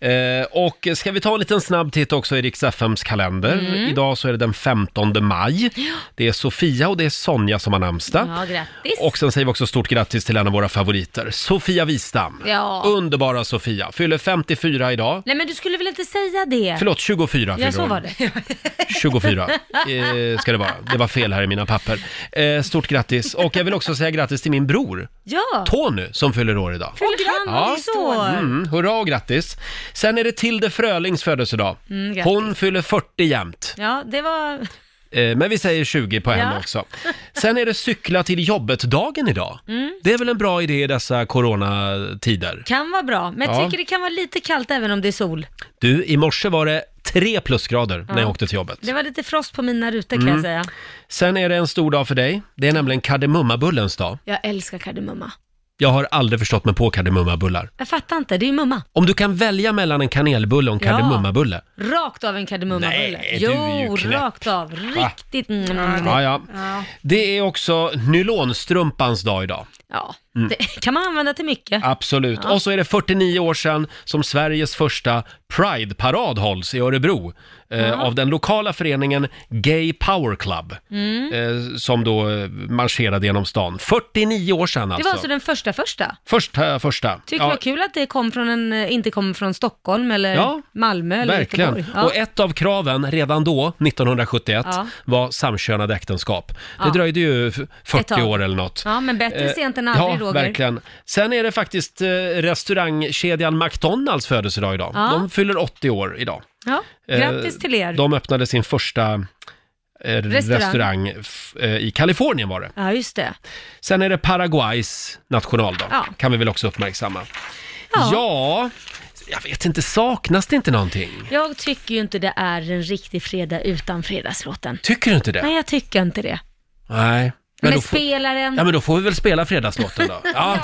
Speaker 1: Eh, och ska vi ta en liten snabb titt också i Rix FMs kalender.
Speaker 4: Mm.
Speaker 1: Idag så är det den 15 maj. Det är Sofia och det är Sonja som har namnsdag.
Speaker 4: Ja, grattis.
Speaker 1: Och sen säger vi också stort grattis till en av våra favoriter, Sofia Wistam.
Speaker 4: Ja.
Speaker 1: Underbara Sofia, fyller 54 idag.
Speaker 4: Nej men du skulle väl inte säga det?
Speaker 1: Förlåt, 24
Speaker 4: Ja,
Speaker 1: fyller
Speaker 4: så
Speaker 1: hon.
Speaker 4: var det.
Speaker 1: 24 eh, ska det vara. Det var fel här i mina papper. Eh, stort grattis. Och jag vill också säga grattis till min bror,
Speaker 4: Ja.
Speaker 1: Tony, som fyller år idag.
Speaker 4: Fyller han också år?
Speaker 1: Mm, hurra och grattis. Sen är det Tilde Frölings födelsedag.
Speaker 4: Mm, grattis.
Speaker 1: Hon fyller 40 jämt.
Speaker 4: Ja, det var...
Speaker 1: Eh, men vi säger 20 på henne
Speaker 4: Ja.
Speaker 1: också. Sen är det cykla till jobbet-dagen idag. Mm. Det är väl en bra idé i dessa coronatider?
Speaker 4: Kan vara bra, men jag
Speaker 1: Ja.
Speaker 4: tycker det kan vara lite kallt även om det är sol.
Speaker 1: Du, i morse var det tre plusgrader när jag
Speaker 4: Ja.
Speaker 1: åkte till jobbet.
Speaker 4: Det var lite frost på mina rutor kan
Speaker 1: Mm.
Speaker 4: jag säga.
Speaker 1: Sen är det en stor dag för dig. Det är nämligen kardemummabullens dag.
Speaker 4: Jag älskar kardemumma.
Speaker 1: Jag har aldrig förstått mig på kardemummabullar.
Speaker 4: Jag fattar inte, det är ju mumma.
Speaker 1: Om du kan välja mellan en kanelbulle och en
Speaker 4: Ja.
Speaker 1: kardemummabulle.
Speaker 4: Rakt av en kardemummabulle.
Speaker 1: Nej, du
Speaker 4: Jo,
Speaker 1: är ju knäpp.
Speaker 4: rakt av.
Speaker 1: Va?
Speaker 4: Riktigt. Mm.
Speaker 1: Ja, ja. Det är också nylonstrumpans dag idag.
Speaker 4: Ja,
Speaker 1: Mm.
Speaker 4: det kan man använda till mycket.
Speaker 1: Absolut.
Speaker 4: Ja.
Speaker 1: Och så är det 49 år sedan som Sveriges första Pride-parad hålls i Örebro eh,
Speaker 4: Ja.
Speaker 1: av den lokala föreningen Gay Power Club.
Speaker 4: Mm.
Speaker 1: Eh, som då eh, marscherade genom stan. 49 år sedan
Speaker 4: Det
Speaker 1: alltså.
Speaker 4: var alltså den första första.
Speaker 1: Första, första.
Speaker 4: Tycker det var kul att det kom från en, eh, inte kom från Stockholm eller
Speaker 1: Ja,
Speaker 4: Malmö eller
Speaker 1: Verkligen.
Speaker 4: Göteborg. Ja.
Speaker 1: Och ett av kraven redan då, 1971,
Speaker 4: Ja.
Speaker 1: var samkönade äktenskap. Det
Speaker 4: Ja.
Speaker 1: dröjde ju f-
Speaker 4: Ett
Speaker 1: 40
Speaker 4: tag.
Speaker 1: år eller något.
Speaker 4: Ja, men bättre
Speaker 1: Eh,
Speaker 4: sent än aldrig,
Speaker 1: ja,
Speaker 4: Roger.
Speaker 1: verkligen. Sen är det faktiskt eh, restaurangkedjan McDonalds födelsedag idag.
Speaker 4: Ja.
Speaker 1: De fyller 80 år idag.
Speaker 4: Ja,
Speaker 1: Eh,
Speaker 4: grattis till er.
Speaker 1: De öppnade sin första eh,
Speaker 4: Restaurang.
Speaker 1: restaurang, f- eh, i Kalifornien var det.
Speaker 4: Ja, just det.
Speaker 1: Sen är det Paraguays nationaldag,
Speaker 4: Ja.
Speaker 1: kan vi väl också uppmärksamma.
Speaker 4: Ja.
Speaker 1: ja, jag vet inte, saknas det inte någonting?
Speaker 4: Jag tycker ju inte det är en riktig fredag utan fredagslåten.
Speaker 1: Tycker du inte det?
Speaker 4: Nej, jag tycker inte det.
Speaker 1: Nej.
Speaker 4: Men,
Speaker 1: då får-
Speaker 4: spelaren...
Speaker 1: Ja, men då får vi väl spela fredagslåten då. Ja.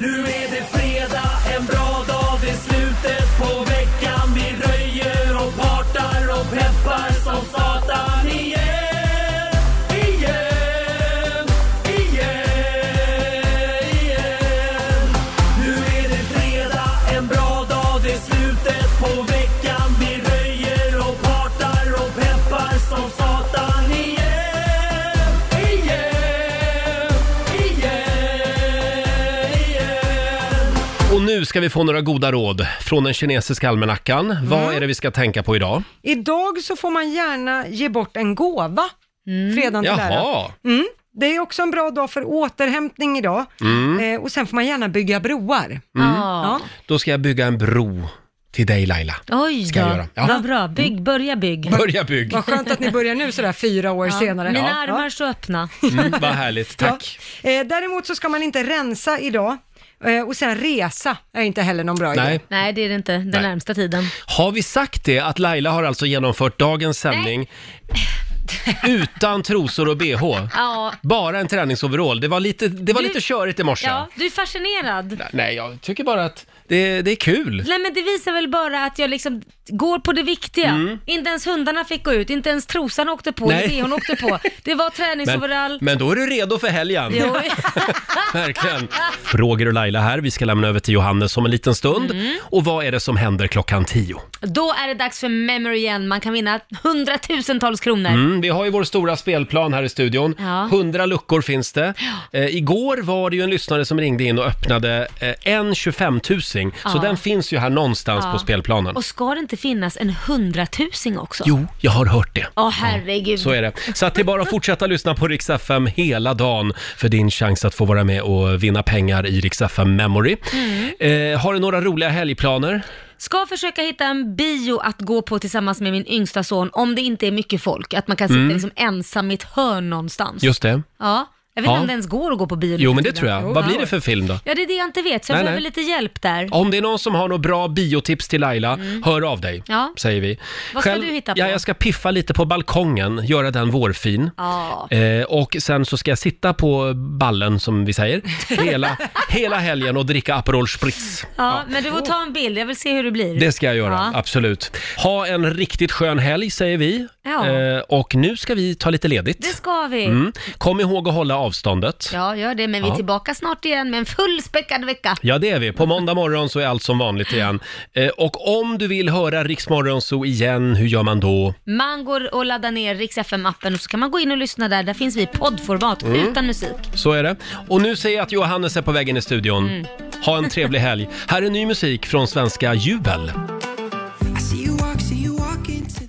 Speaker 16: Nu är det fredag, en bra dag, det är slutet på veckan. Vi röjer och partar och peppar som satan igen. Igen, igen, igen. Nu är det fredag, en bra dag, det är slutet på veckan. Vi röjer och partar och peppar som satan igen. Igen, igen, igen.
Speaker 1: Och nu ska vi få några goda råd från den kinesiska almanackan.
Speaker 4: Mm.
Speaker 1: Vad är det vi ska tänka på idag?
Speaker 2: Idag så får man gärna ge bort en gåva, fredagen till
Speaker 1: Jaha.
Speaker 2: ära. Mm. Det är också en bra dag för återhämtning idag.
Speaker 1: Mm.
Speaker 2: Eh, och sen får man gärna bygga broar.
Speaker 1: Mm.
Speaker 2: Ja.
Speaker 1: Då ska jag bygga en bro till dig Laila.
Speaker 4: Oj
Speaker 1: Ska jag
Speaker 4: då,
Speaker 1: göra. Ja. Mm.
Speaker 4: vad bra. Bygg, börja bygg.
Speaker 1: Börja bygg.
Speaker 2: Vad skönt att ni börjar nu sådär fyra år senare.
Speaker 4: Mina
Speaker 2: Ja.
Speaker 4: armar så öppna.
Speaker 1: Mm, vad härligt, tack.
Speaker 2: Ja. Eh, däremot så ska man inte rensa idag. Eh, och sen resa är inte heller någon bra
Speaker 1: Nej.
Speaker 2: idé.
Speaker 4: Nej, det är det inte. Den
Speaker 1: Nej.
Speaker 4: närmsta tiden.
Speaker 1: Har vi sagt det att Laila har alltså genomfört dagens sändning utan trosor och bh?
Speaker 4: Ja.
Speaker 1: Bara en träningsoverall. Det var lite, det var
Speaker 4: Du-
Speaker 1: lite körigt i morse.
Speaker 4: Ja, du är fascinerad.
Speaker 1: Nej, jag tycker bara att det, det är kul.
Speaker 4: Nej men det visar väl bara att jag liksom går på det viktiga.
Speaker 1: Mm.
Speaker 4: Inte ens hundarna fick gå ut, inte ens trosan åkte på,
Speaker 1: Nej.
Speaker 4: det hon åkte på. Det var träningsoverall.
Speaker 1: Men, men då är du redo för helgen.
Speaker 4: Jo.
Speaker 1: Verkligen. Roger och Laila här. Vi ska lämna över till Johannes om en liten stund.
Speaker 4: Mm.
Speaker 1: Och vad är det som händer klockan tio?
Speaker 4: Då är det dags för memory igen. Man kan vinna hundratusentals kronor.
Speaker 1: Mm, vi har ju vår stora spelplan här i studion.
Speaker 4: Ja.
Speaker 1: Hundra luckor finns det. Eh, igår var det ju en lyssnare som ringde in och öppnade eh, en 25-tusing. Så
Speaker 4: Ja.
Speaker 1: den finns ju här någonstans
Speaker 4: Ja.
Speaker 1: på spelplanen.
Speaker 4: Och ska det inte finnas en hundratusing också?
Speaker 1: Jo, jag har hört det.
Speaker 4: Åh herregud.
Speaker 1: Så är det. Så att det är bara att fortsätta lyssna på Rix FM hela dagen för din chans att få vara med och vinna pengar i Rix FM Memory.
Speaker 4: Mm.
Speaker 1: Eh, har du några roliga helgplaner?
Speaker 4: Ska försöka hitta en bio att gå på tillsammans med min yngsta son om det inte är mycket folk. Att man kan sitta
Speaker 1: Mm.
Speaker 4: liksom ensam i ett hörn någonstans.
Speaker 1: Just det.
Speaker 4: Ja, Jag vet inte
Speaker 1: Ja.
Speaker 4: om det ens går att gå på bio nu
Speaker 1: Jo,
Speaker 4: för
Speaker 1: men det
Speaker 4: tiden.
Speaker 1: tror jag. Vad blir det för film då?
Speaker 4: Ja, det är det jag inte vet, så jag
Speaker 1: Nej,
Speaker 4: behöver
Speaker 1: nej.
Speaker 4: lite hjälp där.
Speaker 1: Om det är någon som har något bra biotips till Laila, hör av dig,
Speaker 4: Mm. Ja.
Speaker 1: säger vi.
Speaker 4: Vad ska du hitta på?
Speaker 1: Ja, jag ska piffa lite på balkongen, göra den vårfin.
Speaker 4: Ja.
Speaker 1: Eh, och sen så ska jag sitta på ballen, som vi säger, hela, hela helgen och dricka Aperol Spritz.
Speaker 4: Ja, men du får ta en bild. Jag vill se hur det blir.
Speaker 1: Det ska jag göra,
Speaker 4: Ja.
Speaker 1: absolut. Ha en riktigt skön helg, säger vi.
Speaker 4: Ja.
Speaker 1: Eh, och nu ska vi ta lite ledigt.
Speaker 4: Det ska vi.
Speaker 1: Mm. Kom ihåg att hålla avståndet.
Speaker 4: Ja, gör det. Men vi är
Speaker 1: Ja.
Speaker 4: tillbaka snart igen med en fullspäckad vecka.
Speaker 1: Ja, det är vi. På måndag morgon så är allt som vanligt igen. Eh, och om du vill höra Riksmorgon så igen, hur gör man då?
Speaker 4: Man går och laddar ner Rix FM-appen och så kan man gå in och lyssna där. Där finns vi i poddformat
Speaker 1: Mm.
Speaker 4: utan musik.
Speaker 1: Så är det. Och nu ser jag att Johannes är på väg in i studion.
Speaker 4: Mm.
Speaker 1: Ha en trevlig helg. Här är ny musik från svenska Jubel.